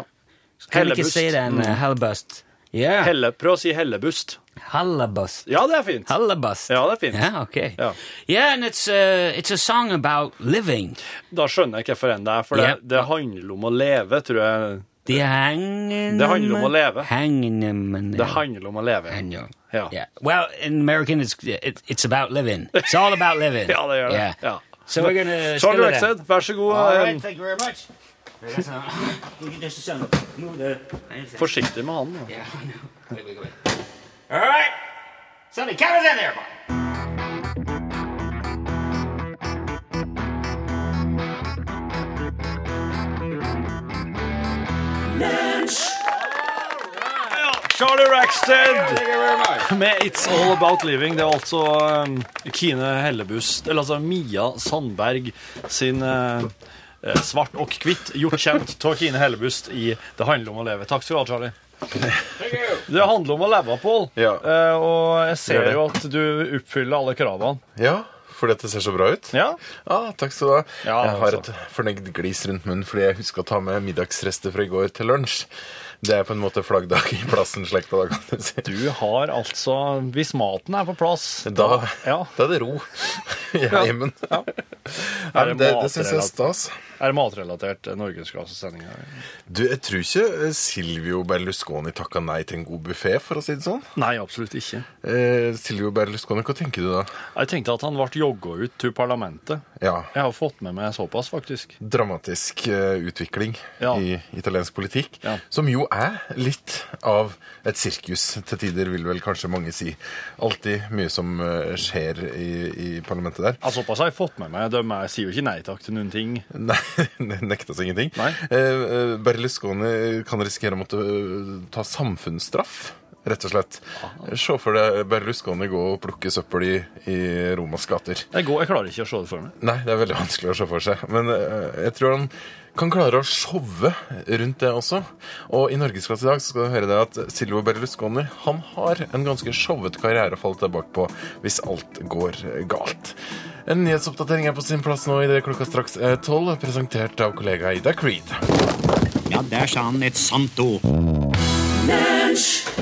S2: Kan vi ikke si den
S3: Uh, Mm.
S2: uh, Hellebust? Ja.
S3: Helle, prøv å si Hellebust.
S2: Hellebust.
S3: Ja, det er fint.
S2: Hellebust.
S3: Ja, det er fint.
S2: Yeah, okay.
S3: Ja.
S2: Yeah, and it's uh, it's a song about living.
S3: Da skjønner jeg hvorfor enn det er, for det,
S2: Ja.
S3: det handler om å leve, tror jeg.
S2: Det handler
S3: Det handler om å leve.
S2: Hangende men-
S3: Det handler om å leve.
S2: Hang on.
S3: Ja.
S2: Yeah. Well, in American, it's it, it's about living. It's all about living.
S3: Ja, det gjør det.
S2: Yeah.
S3: Ja.
S2: So we're gonna
S3: Charlie
S2: spille den.
S3: Rackstead, vær så god.
S2: All
S3: eh,
S2: right, thank you very much. That's not- Just a second. Move the-
S3: Forsiktig med han. da.
S2: Yeah, I know. Wait, wait, wait. All right. Sonny, count us in there, boy.
S3: Charlie Rackstead med It's All About Living. Det er altså um, Kine Hellebust, eller altså Mia Sandberg sin eh, eh, Svart og hvitt, gjort kjent av Kine Hellebust i Det handler om å leve. Takk skal du ha, Charlie. Det handler om å leve, Pål.
S7: Ja.
S3: Eh, og jeg
S7: Gjør
S3: ser
S7: det.
S3: jo at du oppfyller alle kravene.
S7: Ja, for dette ser så bra ut.
S3: Ja.
S7: Ah, takk skal du ha.
S3: Ja,
S7: jeg har
S3: altså.
S7: et fornøyd glis rundt munnen fordi jeg husker å ta med middagsrester fra i går til lunsj. Det er på en måte flaggdag i plassen slekta, da kan du si.
S3: Du har altså Hvis maten er på plass
S7: Da,
S3: ja.
S7: da er det ro i heimen. Nei, men det det syns jeg er
S3: altså.
S7: stas.
S3: Er det matrelatert eh, norgesklassesending her?
S7: Du, jeg tror ikke eh, Silvio Berlusconi takka nei til en god buffé, for å si det sånn.
S3: Nei, absolutt ikke.
S7: Eh, Silvio Berlusconi, hva tenker du da?
S3: Jeg tenkte at han ble jogga ut til parlamentet.
S7: Ja,
S3: Jeg har fått med meg såpass, faktisk.
S7: dramatisk eh, utvikling
S3: Ja.
S7: i italiensk politikk,
S3: Ja.
S7: som jo er litt av et sirkus til tider, vil vel kanskje mange si. Alltid mye som eh, skjer i, i parlamentet der.
S3: Ja, såpass har jeg fått med meg. De er- sier jo ikke nei takk til noen ting.
S7: Nei, nekta seg ingenting.
S3: Nei.
S7: Eh, eh, Berlusconi kan risikere å måtte eh, ta samfunnsstraff, rett og slett. Se for deg Berlusconi gå og plukke søppel i, i Romas gater.
S3: Jeg, går, jeg klarer ikke å se det for meg.
S7: Nei, det er veldig vanskelig å se for seg. Men eh, jeg tror han kan klare å showe rundt det også. Og i Norgesklasse i dag så skal du høre det at Silvo Berlusconi han har en ganske showete karriere å falle tilbake på hvis alt går galt. En nyhetsoppdatering er på sin plass nå i det klokka straks er tolv, presentert av kollega Ida Creed.
S8: Ja, der sa han et sant ord.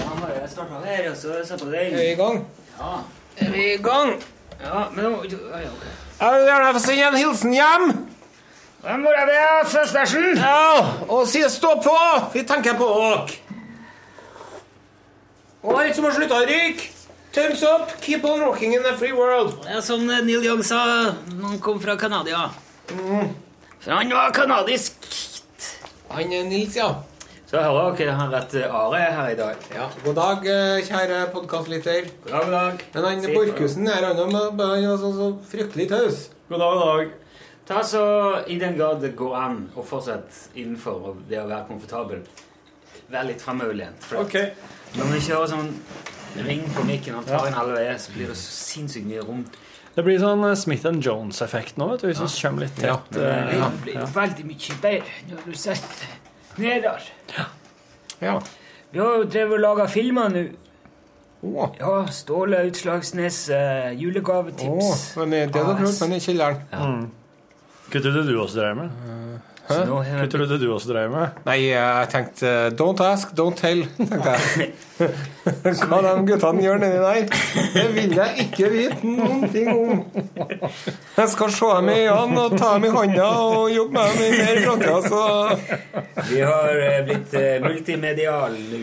S9: Er vi i gang? Ja. Er vi i gang?
S2: Ja, men nå... ja, ja, ok.
S9: Jeg vil gjerne få sende en hilsen hjem.
S2: Hvem var det, søstersen?
S9: Ja, og si stå på! Vi tenker på dere. Alright, som har slutta å røyke. Thumbs up. Keep on rocking in the free world.
S10: Det er som Neil Young sa når han kom fra Canada.
S3: Mm.
S10: For han var kanadisk.
S9: Han er Nils, ja.
S2: Så hører dere det har vært eh, Are her i dag.
S9: Ja, God dag, eh, kjære podkastlytter.
S2: God dag, god dag.
S9: Men han
S2: Sitt.
S9: Borchhusen her, han var han var så, altså, så fryktelig taus.
S2: God dag, god dag. Ta så, I den grad det går an, og fortsett innenfor det å være komfortabel, vær litt framoverlent. for at Når vi kjører sånn ring på mikken og tar inn alle veier, så blir det så sinnssykt mye rom.
S3: Det blir sånn eh, Smith Jones-effekt nå, vet du, hvis vi kommer litt tett.
S2: Det
S3: eh,
S2: blir jo veldig mye bedre når du setter deg ned der.
S9: Ja.
S2: Vi har jo drevet og laga filmer nå.
S9: Åh.
S2: Ja, Ståle Utslagsnes eh, julegavetips. Ah,
S9: Åh, men det er det dere hørte, han er i kjelleren.
S3: Hva trodde du også drev med?
S2: Så
S9: eh,
S2: nå har
S3: Hva trodde du også drev med?
S9: Nei, jeg tenkte eh, Don't ask, don't tell, tenkte jeg. Hva de guttene gjør nedi der, det vil jeg ikke vite noen ting om. Jeg skal se dem i øynene og ta dem i hånda og jobbe med dem i mer framtida, så
S2: Vi har eh, blitt eh, multimedial nå.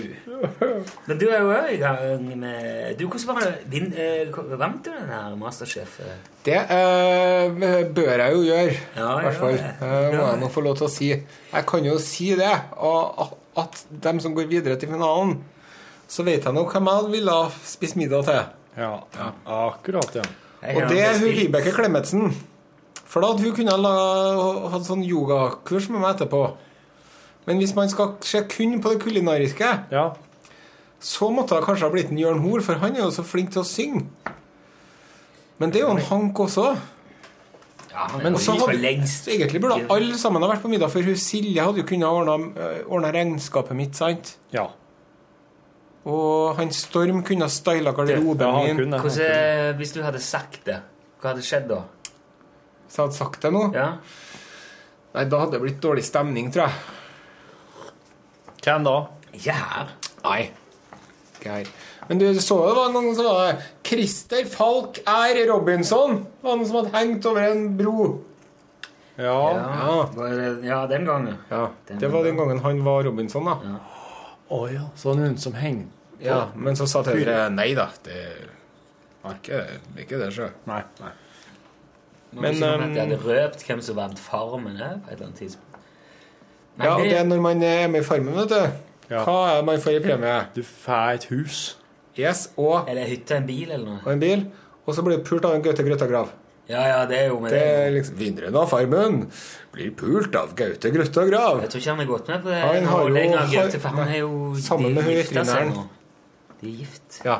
S2: Men du er jo òg i gang med Du, hvordan var det? Vin, eh, hva- vant du den her Masterchef? eh?
S9: Det eh, bør jeg jo gjøre, i
S2: Ja,
S9: hvert fall.
S2: gjør det.
S9: Eh, må jeg nå få lov til å si. Jeg kan jo si det, og at- at dem som går videre til finalen, så vet jeg nå hvem jeg ville ha spist middag til.
S3: Ja, akkurat, ja.
S2: Jeg
S9: Og
S2: har
S9: det er hun
S2: bestilt-
S9: Vibeke Klemetsen. For da hadde hun kunnet la- hatt sånn yogakurs med meg etterpå. Men hvis man skal se kun på det kulinariske,
S3: Ja,
S9: så måtte det kanskje ha blitt en Jørn Hoel, for han er jo så flink til å synge. Men det er jo en hank også.
S2: Ja, han er
S9: Men
S2: jo
S9: så
S2: litt
S9: hadde-
S2: for lengst.
S9: Så egentlig burde alle sammen ha vært på middag, for hun Silje hadde jo kunnet ha ordna- ordna regnskapet mitt, sant?
S3: ja.
S9: Og han Storm kunne ha styla
S3: ja
S9: garderoben
S3: han
S9: min.
S3: kunne
S2: Hvordan, eh, hvis du hadde sagt det, hva hadde skjedd da?
S9: Hvis jeg hadde sagt det nå,
S2: Ja?
S9: nei, da hadde det blitt dårlig stemning, tror jeg.
S3: Hvem da?
S2: Ikke her.
S9: Nei. Ikke her. Men du så jo det var en gang så var det Christer Falk er Robinson. Det var han som hadde hengt over en bro.
S3: Ja.
S2: Ja, var det- ja den gangen.
S9: Ja, Det var den gangen han var Robinson, da.
S3: Å ja, så var det noen som hengte
S9: Ja, Men så sa Tøyre nei da. Det var ikke det, ikke det sjø.
S3: Nei. nei.
S2: Men
S9: Men, ehm,
S2: Jeg hadde røpt hvem som vant Farmen her på et eller annet tidspunkt. Nei,
S9: Ja, og det
S2: det,
S9: er når man er med i Farmen, vet du.
S3: Ja.
S9: Hva er det man får i premie?
S3: Du får et hus.
S9: Yes, og,
S2: eller hytte, en bil eller noe.
S9: og en bil. Og så blir du pult av en Gaute Grøtta-grav.
S2: Ja, ja, det er jo med
S9: Det
S2: det.
S9: er liksom Vinneren av Farmen blir pult av Gaute Grøtta-grav.
S2: Jeg tror ikke han har gått med på det.
S9: Han har jo-
S2: Overlegen av Gaute, for
S9: har-
S2: han er jo
S9: Sammen
S2: de
S9: med hun
S2: gifter seg
S9: veterinæren.
S2: nå. De er gift.
S9: Ja.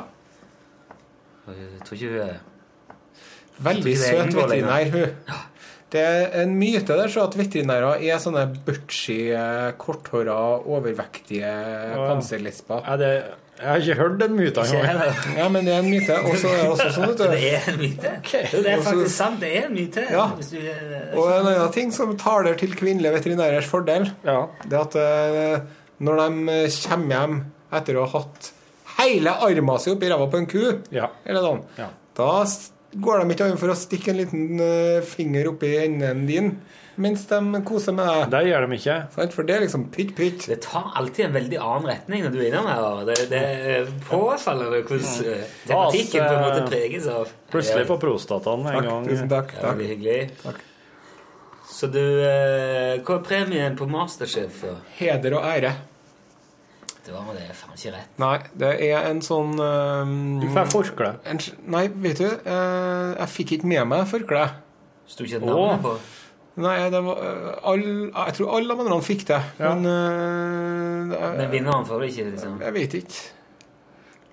S2: Og Jeg tror ikke hun er
S9: Veldig
S2: Ikke det
S9: søt
S2: egentlig,
S9: veterinær, hun. Det er en myte der, så at veterinærer er sånne butchy, eh, korthåra, overvektige panserlesber.
S3: Er det Jeg har ikke hørt den myten
S2: Ikke
S3: engang.
S2: heller.
S9: Ja, men det er en myte. Og så er det også sånn,
S2: Det
S9: vet du.
S2: er en myte. Jo, Det er
S9: Og så-
S2: faktisk sant. Det er en myte.
S9: Ja.
S2: Hvis du,
S9: Og en annen ting som taler til kvinnelige veterinærers fordel,
S3: Ja.
S9: det er at eh, når de eh, kommer hjem etter å ha hatt hele armen sin oppi ræva på en ku,
S3: Ja.
S9: eller sånn,
S3: Ja.
S9: da s- går de ikke an for å stikke en liten eh, finger oppi enden din mens de koser med deg.
S3: Det gjør de ikke.
S9: Sant? For det er liksom pytt, pytt.
S2: det tar alltid en veldig annen retning når du er innom her. og Det, det er påfallende hvordan eh, tematikken på en måte preges av
S3: Plutselig på prostataen en
S9: Takk,
S3: gang.
S9: tusen takk.
S2: Ja,
S9: takk.
S2: veldig hyggelig. Så du eh, Hva er premien på Masterchef? da?
S9: Heder og ære.
S2: Det var det faen ikke rett.
S9: Nei, det er en sånn
S3: Du
S9: ehm,
S3: får forkle.
S9: en, s- Nei, vet du, eh, jeg fikk ikke med meg forkleet.
S2: Sto ikke navnet på?
S9: Nei, det var eh, all, Jeg tror alle abonnentene fikk det.
S3: Ja.
S9: Men eh,
S2: Men
S9: jeg,
S2: vinneren får det ikke, liksom.
S9: jeg vet ikke.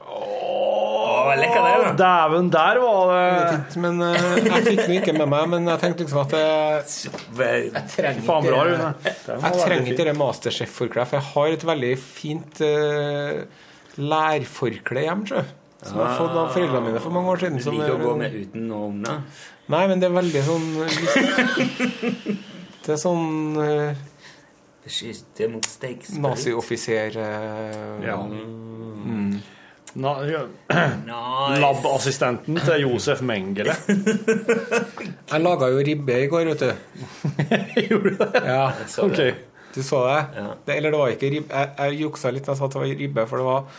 S2: Å, lekker det, da.
S3: Dæven, der var
S9: Jeg
S3: det
S9: vet ikke men eh, jeg fikk den ikke med meg. Men jeg tenkte liksom at jeg, trenger
S3: Faen bra,
S9: ikke-
S3: Rune. Den var
S9: Jeg
S3: veldig
S9: trenger
S3: fin.
S9: ikke det Masterchef-forkleet, for jeg har et veldig fint eh, lærforkle hjemme, tror jeg. Som jeg har fått av foreldrene mine for mange år siden.
S2: Du
S9: som
S2: liker å
S9: er-
S2: gå med uten og under.
S9: Nei, men det er veldig sånn Det er sånn eh,
S2: Det skyter mot stakes.
S9: nazioffiser eh,
S3: Ja. Na, ja.
S2: Nice.
S3: Labassistenten til Josef Mengele.
S9: Jeg laga jo ribbe i går, vet du.
S3: Gjorde du det?
S9: Ja,
S2: Så
S3: Ok.
S2: det.
S9: Du så det? det eller det var ikke ribbe. Jeg, jeg juksa litt da jeg sa at det var ribbe, for det var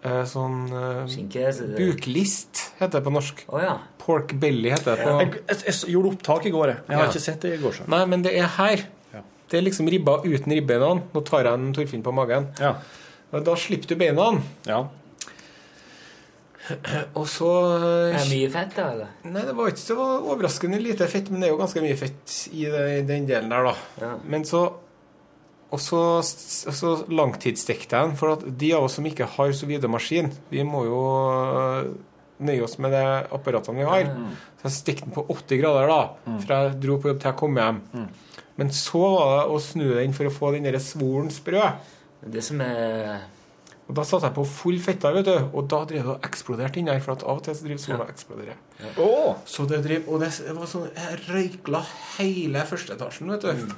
S9: eh, sånn eh,
S2: så det-
S9: Buklist heter det på norsk. Pork belly heter det på
S2: Jeg,
S9: jeg, jeg gjorde opptak i går, jeg.
S2: har ikke sett det i går.
S9: Nei, men det er her. Det er liksom ribba uten ribbeina. Nå tar jeg en Torfinn på magen. Og Da slipper du beina. Og så eh,
S2: Er det mye fett, da? eller?
S9: Nei, det var ikke så overraskende lite fett, men det er jo ganske mye fett i det- i den delen der, da. Men så Og så, og så langtidsstekte jeg den, for at de av oss som ikke har sous vide-maskin, vi må jo øh, nøye oss med de apparatene vi har.
S2: Mm.
S9: Så jeg stekte den på 80 grader, da,
S2: Mm.
S9: fra jeg dro på jobb til jeg kom hjem. Men så var det å snu den for å få den derre svoren sprø. Det som er Og da satte jeg på full fett der, vet du. Og da drev det og eksploderte inni her, for at av og til så driver sola og eksploderer. Så det drev, og det var sånn Jeg røykla hele første etasjen, vet du.
S2: Mm.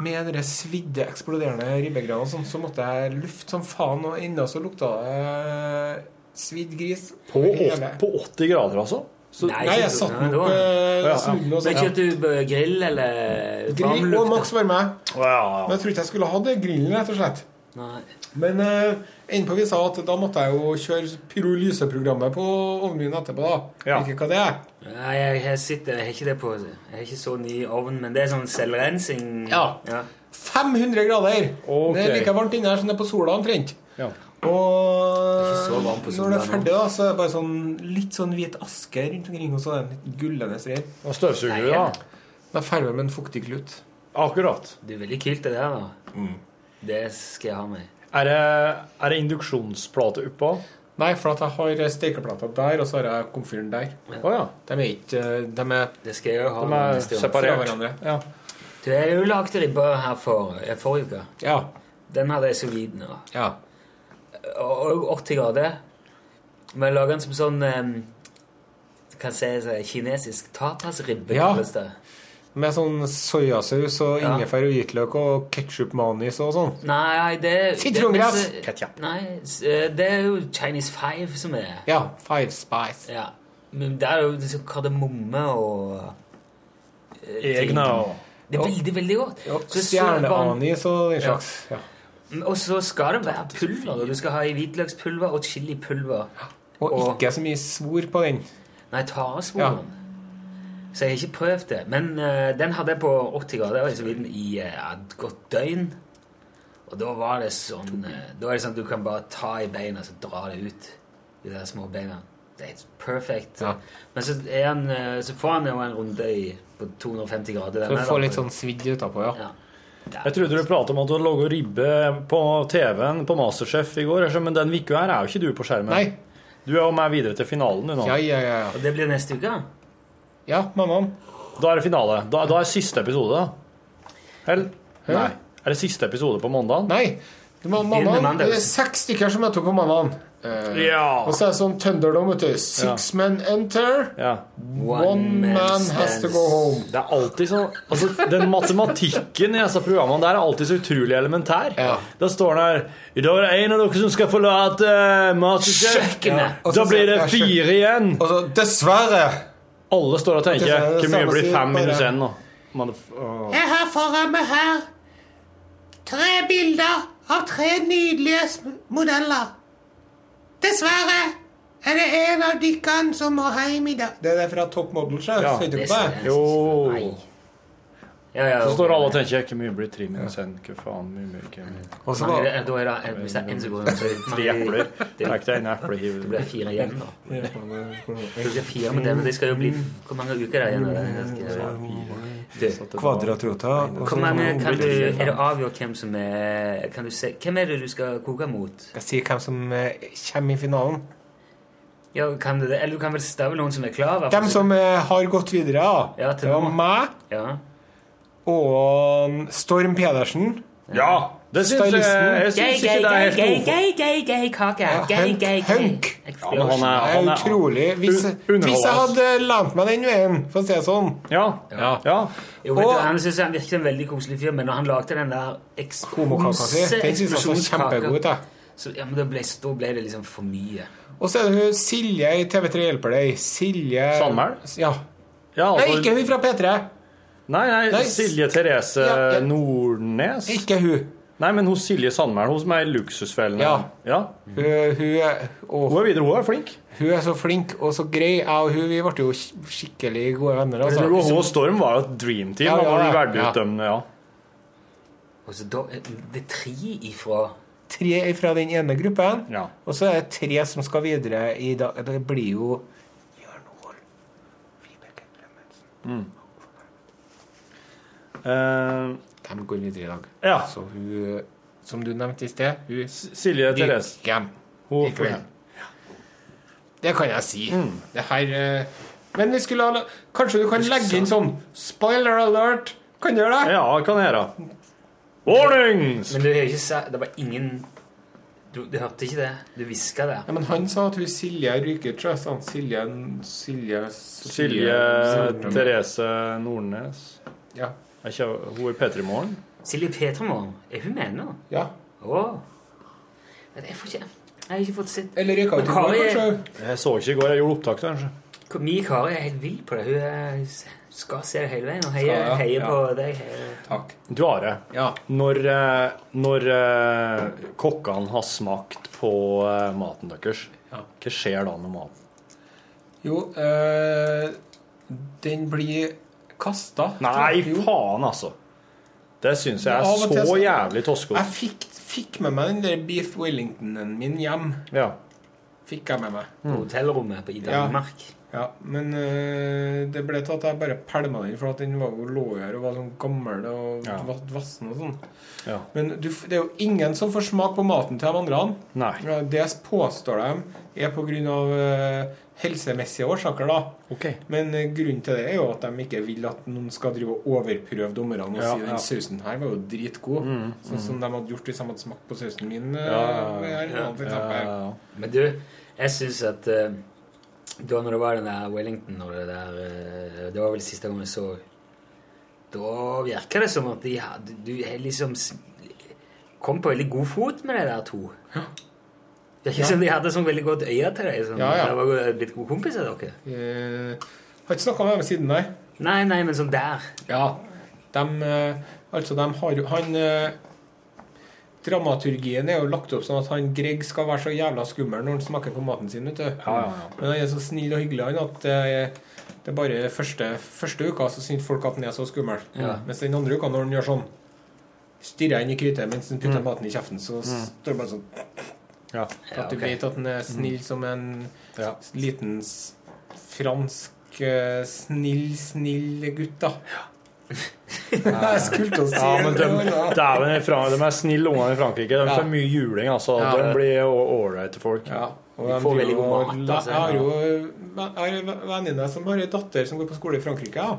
S9: Med den der svidde, eksploderende ribbegreiene og sånn, så måtte jeg lufte som faen, og ennå så lukta det eh, svidd gris.
S2: På åt-
S9: på 80 grader, altså? nei, jeg satte den opp eh, jeg snudde den og
S2: Men
S9: sånn.
S2: kjøpte du eh, grill eller
S9: Grill og maks varme.
S2: ja.
S9: Men jeg trodde ikke jeg skulle ha det grillen, rett og slett.
S2: Nei.
S9: Men eh, innpå vi sa at da måtte jeg jo kjøre pyrolyseprogrammet på ovnen min etterpå, da.
S2: Ja.
S9: Ikke hva det er.
S2: Nei, jeg har sett det. Jeg har ikke det på Jeg har ikke så ny ovn, men det er sånn selvrensing.
S9: Ja. 500 grader! Det er like varmt inne her som det er på sola omtrent.
S2: Ja.
S9: Og
S2: så varmt på sola
S9: når det er
S2: nå.
S9: ferdig, da, så er det bare sånn litt sånn hvit aske rundt omkring, og så er det en litt gullende strek.
S2: Og støvsuger du, da?
S9: Da fermer med en fuktig klut.
S2: Akkurat. Det er veldig kult, det der. da
S9: Mm.
S2: Det skal jeg ha med.
S9: Er det,
S3: Eh,
S9: induksjonsplate oppå? Nei, for at jeg har stekeplata der, og så har jeg komfyren der. De er ikke De er,
S2: det skal jeg ha
S9: de
S2: med
S9: er
S2: neste gang.
S9: fra hverandre.
S2: Du har jo lagd ribbe her for, eh, forrige uke.
S9: Ja.
S2: Den hadde jeg så vidt nå.
S9: Ja.
S2: Og og 80 grader. Men jeg lager den som sånn eh, Hva sier jeg, så- kinesisk tapasribbe,
S9: Ja.
S2: kalles det.
S9: Med sånn soyasaus og ingefær og hvitløk og ketsjup manis og sånn.
S2: Nei, det
S9: Sitrongress.
S2: det- Nei, s- eh, det er jo Chinese Five som er
S9: Ja. Five spice.
S2: Ja. Men det er jo liksom kardemomme og eh, ting.
S9: Egna og-
S2: Det er veldig, veldig godt.
S9: Ja,
S2: Så- så er det bare-
S9: Stjerneanis og den slags. Ja.
S2: Og så skal det være pulver. og Du skal ha i hvitløkspulver og chilipulver.
S9: Og ikke så mye svor på den.
S2: Nei, taresvoren. Så jeg har ikke prøvd det. Men eh, den hadde jeg på 80 grader og så vidt i eh, et godt døgn. Og da var det sånn eh, Da er det sånn at du kan bare ta i beina så dra det ut. I de der små beina. Det er helt perfekt. Men så, er han, eh, så får han jo en runde i, på 250 grader.
S9: For å få litt sånn svidd utapå, ja.
S3: Jeg trodde du pratet om at du hadde laget ribbe på TV-en på Masterchef i går, altså, men den uka her er jo ikke du på skjermen.
S9: Nei.
S3: Du er jo med videre til finalen, du nå.
S9: Ja, ja, ja.
S2: Og det blir neste uke?
S9: Ja, mammaen.
S3: Da er det finale. Da, da er siste episode, da. Eller?
S9: Hæ?
S3: Nei. Er det siste episode på mandagen?
S9: Nei. Du må Mammaen, det er seks stykker som møter opp på mandagen. Eh,
S3: Ja.
S9: Og så er det sånn Thunderdome, vet du. Six men enter.
S3: Ja.
S9: One One man man has to go home.
S3: Det er alltid sånn altså, Den matematikken i disse programmene der er alltid så utrolig elementær. Da står den her I dag er det en av dere som skal forlate eh, Masterchef.
S2: Kjøkkenet.
S9: Og
S3: Da
S9: så
S3: blir det
S9: sier jeg,
S3: fire igjen.
S9: Altså, dessverre.
S3: Alle står og
S9: Det er
S3: tenker
S9: det
S3: Hvor mye
S9: samme
S3: blir
S9: sier
S3: fem
S9: bare-
S3: minus én nå? Motherf- åh.
S11: Jeg har foran meg her tre bilder av tre nydelige sm- modeller. Dessverre er det en av dykkene som må hjem i dag.
S9: Det er fra Top Model, sjef.
S3: Ja.
S9: Vet du
S3: Det
S9: på det?
S3: ser jeg. Jo.
S2: ja,
S3: Så
S2: ok.
S3: står alle og tenker Hvor mye blir tre minus én? Hva faen? Hvor mye, hvor mye?
S2: Og så Mangler det- da er det en- hvis det er en som går inn, så er det-
S3: Tre epler. Det er ikke en eple i
S2: Det blir fire igjen, da.
S3: Ja.
S2: Det blir fire med det, men det skal jo bli Hvor mange uker er det igjen? av det? Det skal- Du-
S9: Kvadratrota. og
S2: Hvor
S9: så-
S2: mange kan du, er det avgjort hvem som er kan du se, Hvem er det du skal koke mot?
S9: Skal jeg si hvem som eh, kommer i finalen?
S2: Ja, kan du det? Eller du kan vel stave noen som er klar? hva for
S9: Dem som eh, har gått videre, da.
S2: Ja, til
S9: det var
S2: nå.
S9: meg
S2: Ja.
S9: og Storm Pedersen.
S3: Ja, det syns jeg- jeg syns
S2: Gay,
S3: ikke
S2: gay,
S3: det er
S2: gay,
S3: helt
S2: gay,
S3: noe.
S2: gay, gay, gay, kake. Gay, gay, gay.
S3: Ja, men han er,
S9: Det
S3: han
S9: er
S3: er
S9: utrolig. Hvis,
S3: underholder
S9: hvis jeg
S3: oss.
S9: hadde lent meg den veien, for å si det sånn
S3: Ja.
S2: Jo, vet du, han synes han virket en veldig koselig fyr, men når han lagde den der
S9: Homokaka
S3: altså.
S9: si. Den synes jeg var kjempegod ut, jeg.
S2: så, ja, men da ble, da ble det liksom for mye.
S9: Og så er det hun Silje i TV3 hjelper deg. Silje
S2: Sandmæl?
S9: Ja. Nei, ikke hun fra P3.
S3: altså- Nei, nei,
S9: Nei, s-
S3: Silje Therese
S9: Ja, ja.
S3: Nordnes.
S9: Ikke hun.
S3: Nei, men hos Silje Sandmæl, hun som er i Luksusfellen.
S9: Ja.
S3: ja.
S9: Hun, hun, er, hun
S3: er videre, hun er flink.
S9: Hun er så flink og så grei. Jeg og hun vi ble jo sk- skikkelig gode venner. Altså.
S3: Du og hun og Storm var jo et dream team.
S9: Ja,
S3: da
S9: ja,
S3: var de
S9: ja.
S3: verdidømmende, ja.
S2: Og så da, det er tre ifra
S9: Tre er fra den ene gruppen,
S3: Ja.
S9: og så er det tre som skal videre i dag. Det blir jo
S3: Mm. Eh,
S9: De går videre i dag.
S3: Ja.
S9: Så hun, som du nevnte i sted hun,
S3: Silje Therese.
S9: Gikk hjem.
S3: Hun Mm.
S9: Gikk hjem. Det kan jeg si. Det her eh, Men vi skulle ha Kanskje du kan legge inn sånn spoiler alert? Kan du gjøre det?
S3: Ja, kan jeg gjøre. Warning!
S2: Men du har ikke sagt Det var ingen Du, du hørte ikke det? Du hviska det?
S9: Ja, men han sa at hun Silje ryker, tror jeg. sa han. Silje Silje
S3: Silje
S9: Sandstrøm.
S3: Therese Nordnes.
S9: Ja.
S3: Er ikke hun i P3 Morgen?
S2: Silje Petermoen, er hun med nå?
S9: Ja.
S2: Åh. Men jeg får ikke Jeg har ikke fått sett
S9: Eller
S2: Men Kari-
S3: Jeg så ikke i går. Jeg gjorde opptak, kanskje.
S2: Mi Kari er helt vill på det. Hun er, hun skal se det hele veien og
S3: Skal,
S2: heier,
S3: ja.
S2: heier
S3: Ja.
S2: på deg. eh, heier-
S3: Du, Are. Når, eh, når eh, kokkene har smakt på eh, maten deres, hva skjer da med maten?
S9: Jo, eh, den blir kasta.
S3: Nei, faen, altså! Det syns jeg
S9: Av og til
S3: er så
S9: så-
S3: jævlig toskete.
S9: Jeg fikk, fikk med meg den der beef wellingtonen min hjem.
S3: Ja.
S9: Fikk jeg med meg.
S3: Mm.
S2: På hotellrommet på- i Danmark.
S9: Ja, ja. Men eh, det ble til at jeg bare pælma den, for at den var jo lå her og var sånn gammel og
S3: Ja.
S9: va- vassen og sånn.
S3: Ja.
S9: Men du, f- det er jo ingen som får smak på maten til de andre.
S3: Nei.
S9: Ja, Det påstår de er pga. eh, helsemessige årsaker, da.
S3: Ok.
S9: Men eh, grunnen til det er jo at de ikke vil at noen skal drive og overprøve dommerne og
S3: Ja,
S9: si den
S3: ja.
S9: sausen her var jo dritgod.
S3: Mm,
S9: sånn
S3: mm.
S9: som de hadde gjort hvis de hadde smakt på sausen min. eh, her, for eksempel.
S2: Ja. Men du, jeg syns at eh, da når det var den der Wellington og det der eh, Det var vel siste gang jeg så Da virker det som at de hadde, du er liksom s- kom på veldig god fot med de der to. Det er ikke
S9: Ja.
S2: som de hadde sånn veldig godt øye til deg. Sånn,
S9: Ja, ja.
S2: De var go- blitt gode kompiser, dere.
S9: Eh, har ikke snakka med dem siden, nei.
S2: Nei, nei, men sånn der.
S9: Ja. Dem, eh, altså, dem har jo Han eh, Dramaturgien er jo lagt opp sånn at han Greg skal være så jævla skummel når han smaker på maten sin, vet du.
S3: Ja, ja, ja.
S9: Men han er så snill og hyggelig, han, at eh, det er bare første, første uka så syns folk at han er så skummel.
S3: Ja.
S9: Mens den andre uka, når han gjør sånn Stirrer inn i kruttet mens han putter maten i kjeften, så
S3: Mm.
S9: står det bare sånn
S3: Ja. Mm.
S9: at du vet at han er snill som en
S3: Ja.
S9: liten s- fransk eh, snill, snill gutt, da. Jeg skulle til å si
S3: Ja, men de,
S9: noe annet.
S3: dæven, i Fran- de er snille ungene i Frankrike. De
S9: Ja.
S3: får mye juling, altså.
S9: Ja.
S3: De blir ålreite folk.
S9: Og de driver og- Jeg har jo jeg har en venninne som har en datter som går på skole i Frankrike. Ja.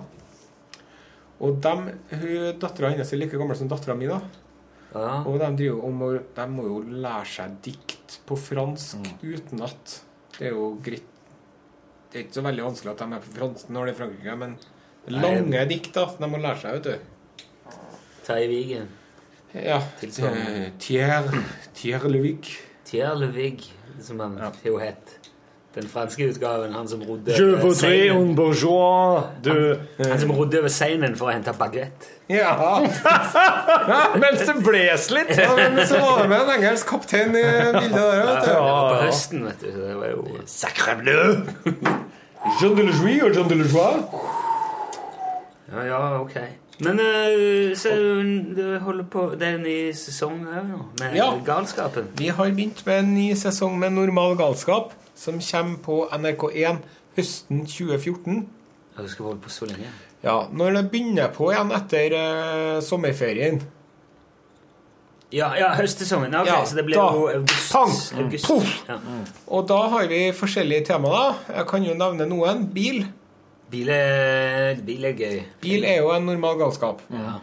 S9: Og dem, hun, dattera hennes er like gammel som dattera mi. da. Og de, driver, jo om å, de må jo lære seg dikt på fransk utenat. Det er jo greit. Det er ikke så veldig vanskelig at de er på fransk når det er Frankrike, men lange
S2: Nei.
S9: dikt da, som de må lære seg, vet du.
S2: Tai Vigen.
S9: Ja. Eh, Thier, Thier Levig.
S2: Thier Levig, som han jo het. Den franske utgaven. Han som rodde
S3: Je voudrais
S2: Seinen.
S3: un bourgeois de
S2: Han som rodde over seinen for å hente baguett.
S9: Ja!
S3: Mens det bles litt!
S9: Ja, men så var det med en engelsk kaptein i bildet der, vet du.
S2: Det var på høsten, vet du. så Det var jo Sacre bleu!
S3: Jean de la Joie og Jean de la Joie.
S2: Ja, ja, ok. Men eh, så du holder på Det er en ny sesong òg nå, med
S9: Ja.
S2: galskapen.
S9: Vi har begynt med en ny sesong med normal galskap, som kommer på NRK1 høsten 2014.
S2: Ja, du skal holde på så lenge.
S9: Ja, Når det begynner på igjen etter eh, sommerferien.
S2: Ja, ja høstsesongen. Ok,
S9: Ja,
S2: så det blir
S9: da.
S2: jo august. august. Ja.
S9: Og da har vi forskjellige temaer. da. Jeg kan jo nevne noen. Bil.
S2: Bil er, bil er gøy.
S9: Bil er jo en normal galskap.
S2: Ja.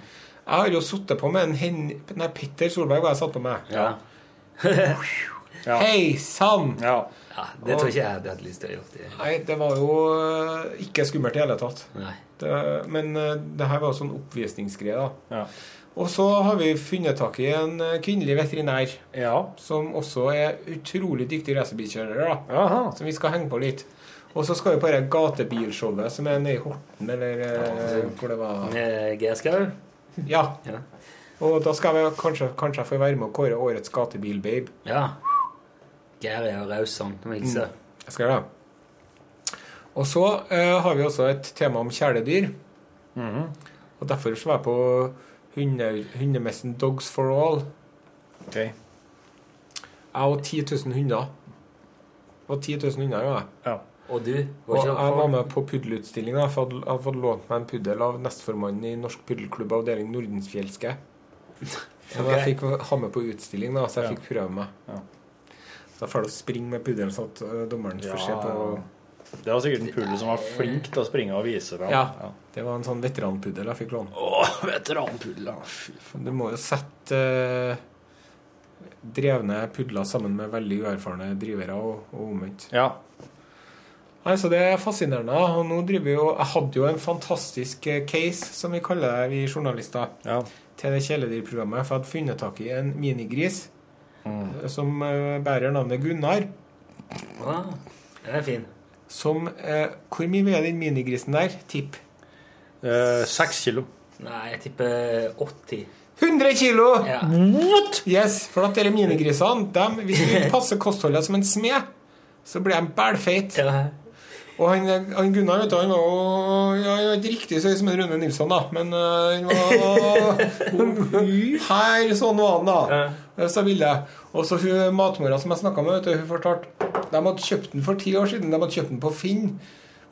S9: Jeg har jo sittet på med en hen... Nei, Petter Solberg var jeg satt på med.
S2: Ja.
S9: Hei sann!
S2: Ja, det tror ikke jeg hadde hatt lyst til å gjøre. Det.
S9: Nei, det var jo eh, ikke skummelt i hele tatt.
S2: Nei.
S9: Det, men eh, det her var jo sånn oppvisningsgreie, da.
S3: Ja.
S9: Og så har vi funnet tak i en eh, kvinnelig veterinær som også er utrolig dyktig racerbilkjører. da, Som vi skal henge på litt. Og så skal vi på det gatebilshowet som er nede i Horten, eller eh, hvor det var
S2: Med Geir Skau?
S9: Ja. Og da skal jeg kanskje, kanskje jeg få være med å kåre årets gatebil-babe.
S2: Ja. Geir er jo raus sånn. Du må hilse.
S9: Jeg skal gjøre det. Og så eh, har vi også et tema om kjæledyr. Og derfor så var jeg på hunde, hundemessen Dogs for All.
S3: Okay.
S9: Jeg og 10 000 hunder. Det var 10 000 hunder, jo. jeg.
S2: Og du?
S9: Og
S2: Var ikke
S9: jeg
S2: det
S9: var med på puddelutstillinga. Jeg hadde- jeg hadde fått lånt meg en puddel av nestformannen i Norsk Puddelklubb avdeling Nordenfjelske. Og jeg fikk ha med på utstilling, da, så jeg fikk prøve meg. Så jeg får da springe med puddelen sånn at øh, dommeren får se på
S3: Det var sikkert en puddel som var flink til å springe og vise fram.
S9: Ja. Det var en sånn veteranpuddel jeg fikk låne.
S3: Åh, veteranpuddel, ja. Fy
S9: faen. Du må jo sette eh, drevne pudler sammen med veldig uerfarne drivere og, og omvendt.
S3: Ja.
S9: Nei, så Det er fascinerende. og nå driver vi jo, Jeg hadde jo en fantastisk eh, case, som vi kaller det, vi journalister, til det kjæledyrprogrammet. For jeg hadde funnet tak i en minigris
S3: Mm.
S9: eh, som eh, bærer navnet Gunnar.
S2: Wow. Ah, Den er fin.
S9: Som eh, Hvor mye veier den minigrisen der? Tipp.
S3: Seks kilo.
S2: Nei, jeg tipper 80.
S9: 100 kilo! What? Yes, for at dere minigrisene dem, Hvis du passer kostholdet som en smed, så blir de bælfeit. Og han, han Gunnar vet du, han var jo ja, ja, ikke riktig så høy som en Rune Nilsson, da, men øh, han var Her, sånn var han, da. Hvis jeg ville. Og så hun matmora som jeg snakka med, vet du, hun fortalte De hadde kjøpt den for ti år siden. De hadde kjøpt den på Finn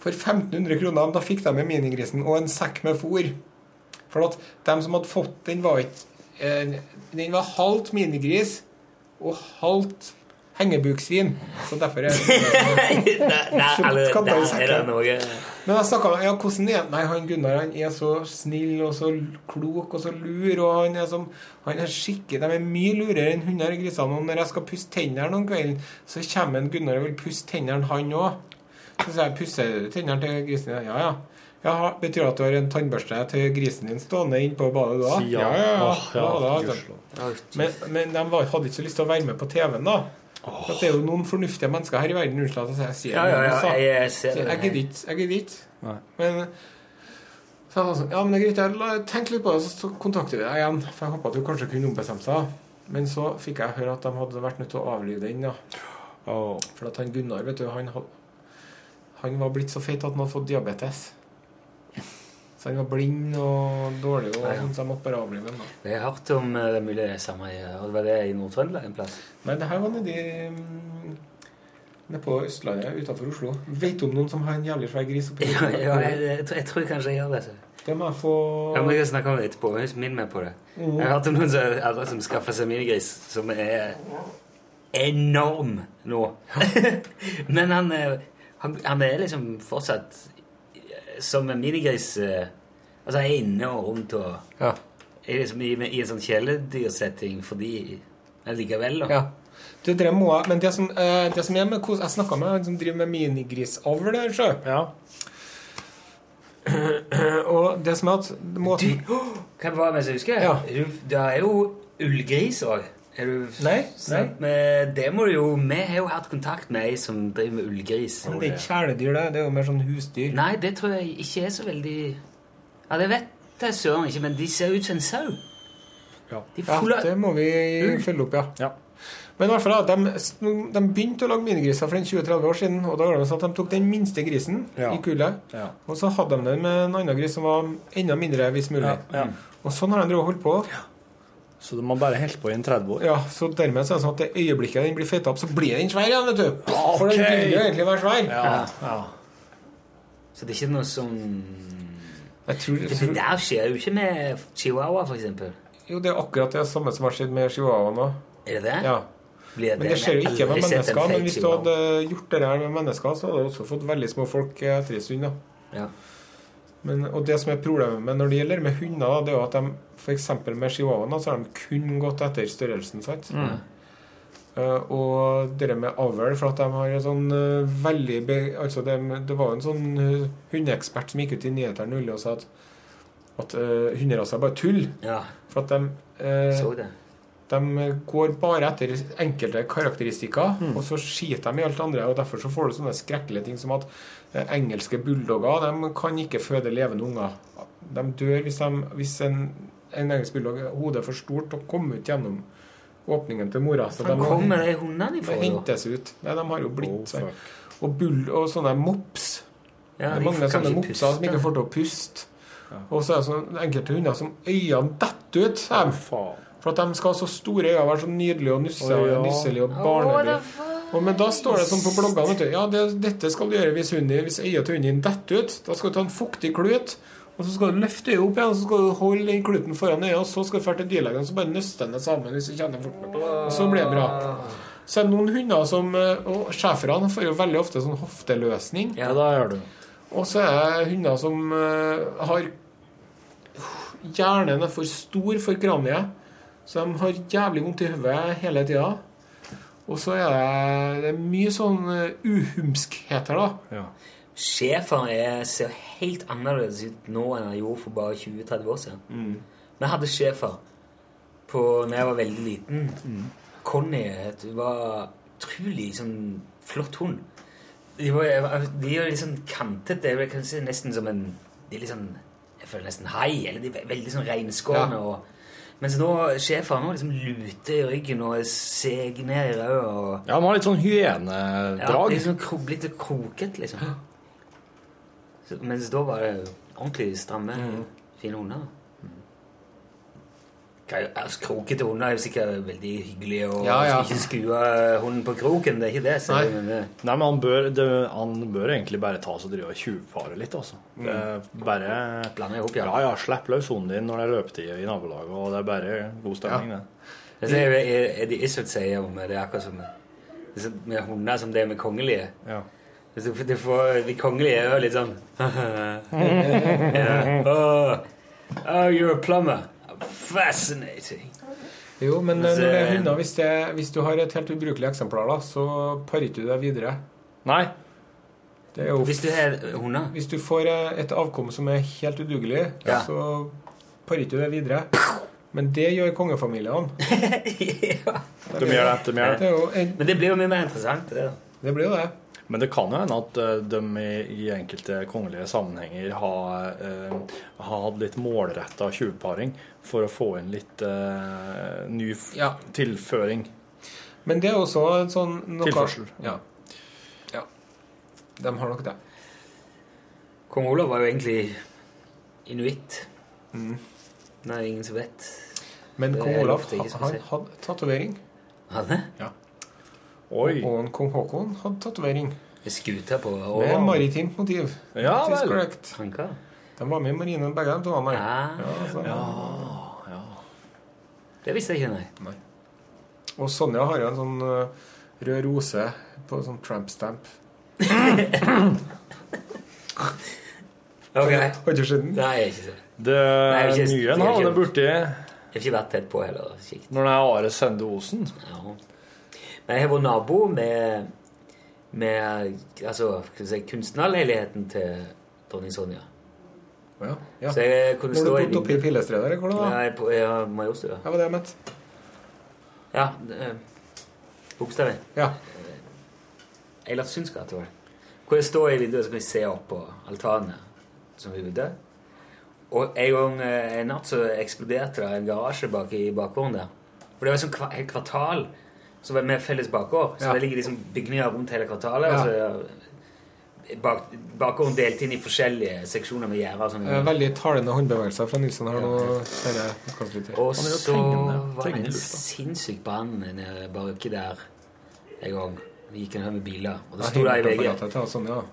S9: for 1500 kroner. Da fikk de med minigrisen og en sekk med fôr. For at dem som hadde fått den, var ikke eh, Den var halvt minigris og halvt hengebuksvin. Så derfor er
S2: Nei, eller der
S9: Katta i
S2: er det
S9: sekken.
S2: noe
S9: Men jeg snakket med ja, hvordan er Nei, han Gunnar han er så snill og så klok og så lur. Og han er som Han er skikkelig De er mye lurere enn hunder og griser. Og når jeg skal pusse tennene om kvelden, så kommer en Gunnar og vil pusse tennene, han òg. Så sier jeg 'Pusser du tennene til grisen din?' Ja, ja. Jaha, Betyr det at du har en tannbørste til grisen din stående inne på badet da?
S3: Si ja.
S9: ja, ja. altså. ja.
S3: Åh, ja,
S9: da, da,
S3: gudskjelov.
S9: men, men de var, hadde ikke så lyst til å være med på TV-en, da. For at det er jo noen fornuftige mennesker her i verden. Unnskyld at jeg sier
S2: Ja, ja, ja,
S9: men sa-
S2: jeg ser
S9: så
S2: det
S9: jeg
S2: her.
S9: gidder ikke. Jeg gidder ikke.
S3: Nei.
S9: Men så jeg var sånn, ja, men det er greit, jeg la- tenk litt på det, så kontakter vi deg igjen. For jeg håpet at du kanskje kunne ombestemme seg. Men så fikk jeg høre at de hadde vært nødt til å avlive den. da. For at han Gunnar, vet du, han, had- han var blitt så feit at han hadde fått diabetes. Så han var blind og dårlig, og
S2: Ja, ja.
S9: sånn, så jeg måtte bare avlive ham.
S2: Jeg har hørt om eh, det er mulig det er samme i og det var det i Nord-Trøndelag en plass.
S9: Nei, det her var nedi mm, nede på Østlandet, utenfor Oslo. Vet du om noen som har en jævlig svær gris oppi
S2: Ja, ja, jeg, jeg, tror- jeg tror kanskje jeg gjør det. så.
S9: Det må jeg få
S2: Ja, men Jeg kan snakke om det etterpå. Husk minn meg på det.
S9: Mhm.
S2: Jeg har hørt om noen som, andre som skaffer seg minigris, som er enorm nå. Men han, eh, han, han er liksom fortsatt eh, som en minigris eh, Altså, han er inne og rundt og
S9: Ja.
S2: er liksom i, i en sånn kjæledyrsetting fordi Allikevel, da.
S9: Ja. Det der må jeg, men det som, eh, det som er med kos Jeg snakka med han som driver med minigrisavl der, sjø. Og det som er at måten
S2: Kan jeg bare mens jeg husker?
S9: Ja.
S2: Er du- Det er jo ullgris òg.
S9: Nei,
S2: Det må du jo Vi har jo hatt kontakt med ei som driver med ullgris.
S9: Men det er ikke kjæledyr, det. Det er jo mer sånn husdyr.
S2: Nei, det tror jeg ikke er så veldig Ja, det vet jeg søren ikke, men de ser ut som en sau. De er
S9: Ja,
S2: fulle
S9: det må vi
S2: Ull.
S9: følge opp, ja. Men i hvert fall, da, de, de begynte å lage minigriser for en 20-30 år siden. Og da var det sånn at de tok den minste grisen
S3: Ja.
S9: i kullet,
S3: Ja.
S9: og så hadde de den med en annen gris som var enda mindre, hvis mulig.
S3: Ja, ja.
S9: Og sånn har de drevet og holdt på.
S3: Så de har bare holdt på i en 30 år.
S9: Ja, så dermed så er det sånn at det øyeblikket den blir fetta opp, så blir den svær igjen, vet du. For den
S2: Ok.
S9: vil jo egentlig være svær.
S2: Ja, Så det er ikke noe som
S9: Jeg tror,
S2: For Det der skjer jo ikke med chihuahua, for eksempel.
S9: Jo, det er akkurat det samme som har skjedd med chihuahua nå.
S2: Er det det?
S9: Ja.
S2: Blir det
S9: Men det skjer jo
S2: Jeg har
S9: ikke med
S2: aldri sett en
S9: mennesker.
S2: feit
S9: Men hvis du
S2: chihuahua.
S9: hadde gjort det her med mennesker, så hadde du også fått veldig små folk etter en stund. da.
S2: Ja.
S9: Men, og det som er problemet med når det gjelder med hunder, da, det er jo at de f.eks. med chihuahuaen da, så har de kun gått etter størrelsen. sant?
S2: Mm.
S9: Eh, og det der med avl, for at de har en sånn eh, veldig be, altså det, det var jo en sånn eh, hundeekspert som gikk ut i nyhetene nylig og sa at, at eh, hunderaser er bare tull.
S2: Ja.
S9: For at de, eh,
S2: Så det.
S9: de går bare etter enkelte karakteristikker,
S2: Mm.
S9: og så skiter de i alt andre. og Derfor så får du sånne skrekkelige ting som at eh, engelske bulldogger de kan ikke føde levende unger. De dør hvis, de, hvis en en engelsk bulldog. Hodet er for stort og kom ut gjennom åpningen til mora. Så
S2: Hvor
S9: må-
S2: kommer de hundene ifra,
S9: Det
S2: da? Oh,
S9: hentes ut. Nei, de har jo blitt sånn. Og, bull, og sånne mops.
S2: Ja,
S9: det
S2: de
S9: er mange
S2: kan
S9: sånne
S2: ikke
S9: mopser som
S2: puste.
S9: ikke får til å puste. Og så er det sånn enkelte hunder som øynene detter ut. sier de. For at de skal ha så store øyne og være så nydelige og nusse-
S1: Å, ja.
S9: nusselige og
S1: Å,
S9: barnelige. Og, men da står det sånn på bloggene vet du, Ja, det, dette skal du gjøre hvis, hunden, hvis øyet til hunden din detter ut. Da skal du ta en fuktig klut, og så skal du løfte øyet opp igjen, og så skal du holde den kluten foran øyet, og så skal du føre til dyrlegen, og så bare nøste den sammen hvis du kjenner fort nok. Og så blir det bra. Så er det noen hunder som eh, Og schæferne får jo veldig ofte sånn hofteløsning.
S2: Ja, da gjør du
S9: Og så er det hunder som eh, har Hjernen er for stor for kraniet, så de har jævlig vondt i hodet hele tida. Og så er det, det er mye sånn eh, uhumskheter, da.
S2: Schæferen er- ser helt annerledes ut nå enn han gjorde for bare 20-30 år siden. Vi hadde schæfer på- når jeg var veldig liten. Conny het hun var utrolig sånn, flott hund. De var, jeg var- de var litt sånn kantete. Jeg vil kanskje si nesten som en De er litt sånn Jeg føler nesten hai. Eller de er ve- veldig sånn reinskårne.
S12: Ja.
S2: og- Mens nå schæferen nå liksom luter i ryggen og seger ned i øyet. og-
S1: Ja, man har litt sånn
S2: Ja,
S1: hyenedrag.
S2: det er
S9: liksom.
S2: sånn kro litt kroket, liksom. Så, mens da var det ordentlig stramme,
S1: Mm.
S2: fine hunder. Hva er- Altså, krokete hunder er jo sikkert veldig hyggelige, og
S1: Ja, ja.
S2: skal ikke skrue hunden på kroken. Det er ikke det. Så,
S1: Nei.
S2: men, det-
S1: Nei, men han bør, det, han bør egentlig bare ta seg og drive og tjuvpare litt, altså.
S2: Mm.
S1: Det er bare
S2: Blande ihop,
S1: ja. Ja, Slipp løs hunden din når det er løpetid i nabolaget, og det er bare god stemning,
S2: det er, er, er det Izzet sier om det, er akkurat som det er sånn med hunder som det er med kongelige.
S1: Ja.
S2: Du, du får, de kongelige er jo litt sånn ja. Åh, oh, you're a plumber. Fascinating.
S9: Jo, men eh,
S2: Men så-
S9: når det er hunder, hvis, det, hvis du har et helt ubrukelig eksemplar, da, så parer ikke du deg videre.
S1: Nei.
S9: Det er jo
S2: Hvis du har hunder?
S9: Hvis du får eh, et avkom som er helt udugelig,
S2: Ja.
S9: så parer ikke du deg videre. Men det gjør kongefamiliene.
S1: De gjør det, de gjør det.
S9: er jo en
S2: Men det blir jo mye mer interessant. Det, da.
S9: Det blir jo det.
S1: Men det kan jo hende at eh, de i, i enkelte kongelige sammenhenger har, eh, har hatt litt målretta tjuvparing for å få inn litt eh, ny f tilføring.
S9: Men det er også en sånn noe,
S1: Tilførsel.
S9: Ja. ja. De har nok det.
S2: Kong Olav var jo egentlig inuitt.
S1: Mm.
S2: Det er ingen som vet.
S9: Men
S2: Det
S9: kong
S2: er
S9: Olav
S2: ofte
S9: han,
S2: ikke som
S9: han
S2: sier.
S9: hadde tatovering.
S2: Hadde?
S9: Ja.
S1: Oi.
S9: Og han kong Haakon hadde tatovering.
S2: Med skuta på
S9: Med maritimt motiv.
S2: Ja
S9: That is
S2: vel.
S9: correct. De var med i marinen, begge de to. han, nei. Ja, altså. så-
S2: Det visste jeg ikke,
S9: nei. Og Sonja har jo en sånn eh, rød rose på sånn tramp stamp.
S2: Ok.
S9: Har du ikke sett den?
S2: Nei, jeg har ikke sett den.
S1: Det
S2: Nei, jeg har ikke-
S1: nye
S2: jeg har
S1: nå,
S2: ikke-
S1: det burde jeg
S2: Jeg har ikke vært tett på heller. Kikt.
S1: Når det er Are Sende Osen.
S2: Ja. Men jeg har vært nabo med, med altså, hva skal vi si, kunstnerleiligheten til dronning Sonja.
S9: Ja, ja.
S2: Så jeg kunne
S9: Når du
S2: stå i
S9: bodde oppe i
S2: vinduet.
S9: Pilestredet, eller hvordan var det?
S2: Ja, jeg, på- ja, Majorstua.
S9: Ja, var det jeg mente.
S2: Ja, eh, bokstaven.
S9: Ja.
S2: Eilertsunds gate, var det. Hvor jeg står i vinduet, så kan jeg se opp på altanene som er ute. Og en gang eh, en natt så eksploderte det en garasje bak i bakgården der. For det var sånn kva- helt kvartal som var med felles bakgård. Så
S12: Ja.
S2: det ligger liksom bygninger rundt hele kvartalet.
S9: Ja.
S2: Og så er bak, bakgården delt inn i forskjellige seksjoner med gjerder og sånn.
S9: Eh, Veldig talende håndbevegelser fra Nilsen her nå. denne podcasten.
S2: Og så var det en sinnssyk brann nede baki der en gang. Vi gikk en haug med biler, og det
S9: Ja,
S2: sto der i
S9: himmelen på
S2: VG
S9: gata til Sonja.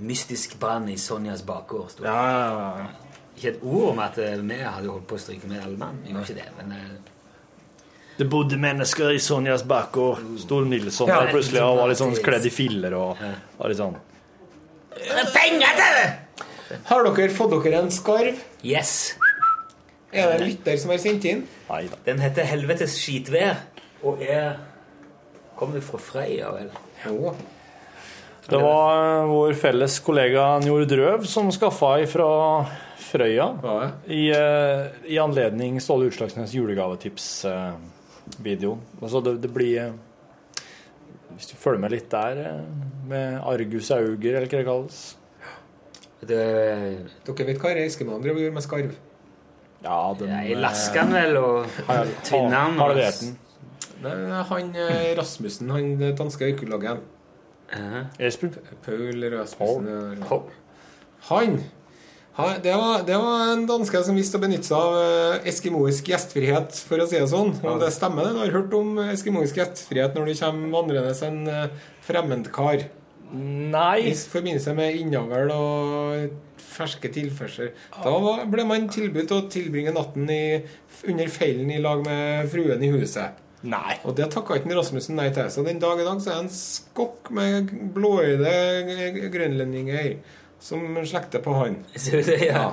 S2: Mystisk brann i Sonjas bakgård. sto det. Ikke et ord om at eh, vi hadde holdt på å stryke med alle mann. Vi gjorde ikke det, men eh,
S1: Det bodde mennesker i Sonjas bakgård. Stol Nilsson
S2: Ja.
S1: der plutselig og var litt sånn kledd i filler og var litt sånn
S2: Penger til det!
S9: Har dere fått dere en skarv?
S2: Yes!
S9: Er det en lytter som har sendt inn?
S2: Den heter Helvetes skitvær og er Kommer du fra Freia, vel?
S9: Jo.
S1: Det var eh, vår felles kollega Njord Røv som skaffa ei fra Frøya i, eh, i anledning Ståle Utslagsnes julegavetips-video. Altså det, det blir eh, Hvis du følger med litt der, eh, med Argus Auger, eller hva det kalles
S9: Dere vet hva reiskemannen driver og gjør med skarv?
S3: Ja, den
S2: Jeg lasker den vel og tvinner den.
S3: Har du vet den?
S9: Nei, han eh, Rasmussen, han eh, danske økologen.
S3: Espen?
S9: Paul Rasmussen. eller- Han! han det, var, det var en danske som visste å benytte seg av eh, eskimoisk gjestfrihet, for å si det sånn. Og det stemmer, det. Du har hørt om eh, eskimoisk gjestfrihet når det kommer vandrende en eh, fremmedkar?
S3: Nei.
S9: I forbindelse med innavl og ferske tilførsler. Da var- ble man tilbudt å tilbringe natten i, under fellen i lag med fruen i huset.
S3: Nei.
S9: Og det takka ikke Rasmussen nei til. Så den dag i dag så er han skokk med blåøyde grønlendinger som slekter på han.
S2: Ser du det, ja.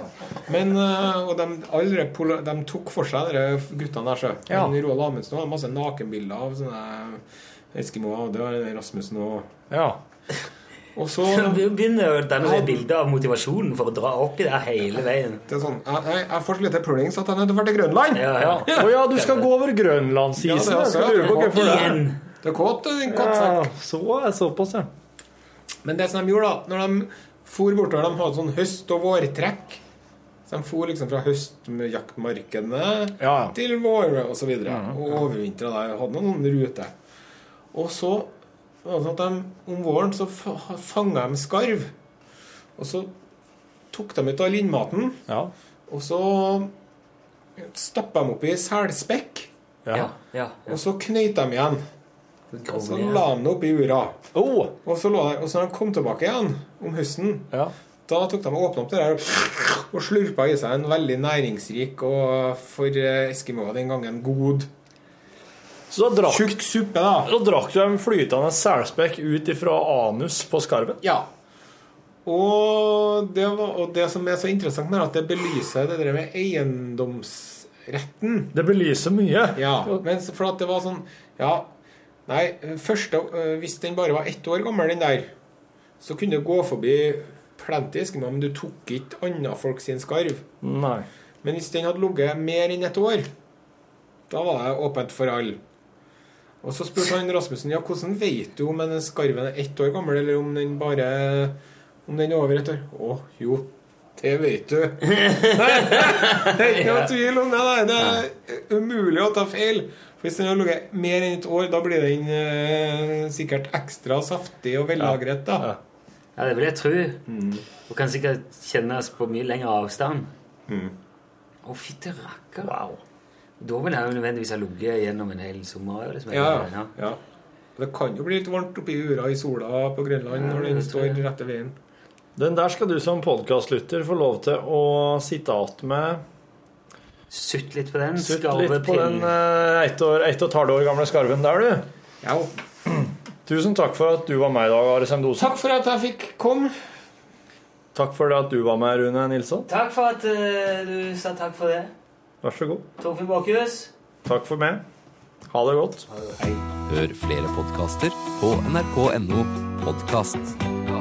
S9: Men, eh, og de, alle pol- de tok for seg de guttene der, sjø.
S3: Ja.
S9: Men Roald Amundsen hadde masse nakenbilder av sånne eskimoer, og det var Rasmussen òg.
S3: Ja.
S9: Og så
S2: Vi begynner å danne seg bilde av motivasjonen for å dra opp i det hele veien.
S9: Det er sånn, jeg, jeg, jeg får så lite pulings at jeg er nødt til å dra til Grønland.
S2: Ja,
S3: ja. Å ja, du skal gå over
S9: Ja, det
S3: grønlandsisen.
S9: er
S3: jeg
S9: også-
S3: skal lure på hvorfor det.
S9: Igjen. Det er kåt, det er en kåt
S3: Ja,
S9: sekk.
S3: så er det såpass, ja.
S9: Men det som de gjorde, da Når de for bortover, de hadde sånn høst- og vårtrekk. Så de for liksom fra høstjaktmarkedene til vår og så videre. Og overvintra der. Hadde noen ruter. Og så var det sånn at de, om våren så fanga de skarv. Og så tok de ut av linnmaten. Og så stappa de oppi selspekk.
S2: Ja, ja.
S9: Og så knøyt de igjen. Og så
S3: Sånn
S2: ned.
S9: la de det oppi ura.
S3: Oh,
S9: Og så lå det, og så når de kom tilbake igjen om høsten, da tok de og åpna opp det der og slurpa i seg en veldig næringsrik og for eh, Eskimoer den gangen god
S3: Så da drakk,
S9: Tjukk suppe, da.
S3: Da drakk du en flytende selspekk ut ifra anus på skarven?
S9: Ja. Og det, var, og det som er så interessant med det, er at det belyser det der med eiendomsretten.
S3: Det belyser mye.
S9: Ja, men så- for at det var sånn Ja, nei, første, øh, hvis den bare var ett år gammel, den der, så kunne du gå forbi plenty eskimo, men du tok ikke andre folk sin skarv.
S3: Nei.
S9: Men hvis den hadde ligget mer enn ett år, da var det åpent for alle. Og så spurte han Rasmussen ja, hvordan vet du om en skarven er ett år gammel, eller om den bare om den er over et år. Å, jo, det vet du. Det er ikke noe tvil om det. nei. Det er umulig å ta feil. For Hvis den har ligget mer enn et år, da blir den eh, sikkert ekstra saftig og vellagret. da.
S2: Ja, det vil jeg tro.
S3: Mm.
S2: Og kan sikkert kjennes på mye lengre avstand.
S3: Mm.
S2: Å, fytti rakker! Da vil jeg jo nødvendigvis ha ligget gjennom en hel sommer. jo, Liksom.
S9: Ja, ja. Det kan jo bli litt varmt oppi ura i sola på Grønland når den står rette veien.
S3: Den der skal du som podkastlytter få lov til å sitte igjen med.
S2: Sutt litt på den.
S3: Sutt
S2: skarve
S3: litt på den
S2: pinnen.
S3: eh, ett, år, ett og et halvt år gamle skarven der, du.
S9: Ja.
S3: Tusen takk for at du var med i dag, Are Sem Dosen.
S9: Takk for at jeg fikk komme.
S3: Takk for det at du var med, Rune Nilsson.
S2: Takk for at eh, du sa takk for det.
S3: Vær så god.
S2: Torfinn Bakhus.
S3: Takk for meg. Ha det godt.
S13: Hør flere podkaster på nrk.no podkast.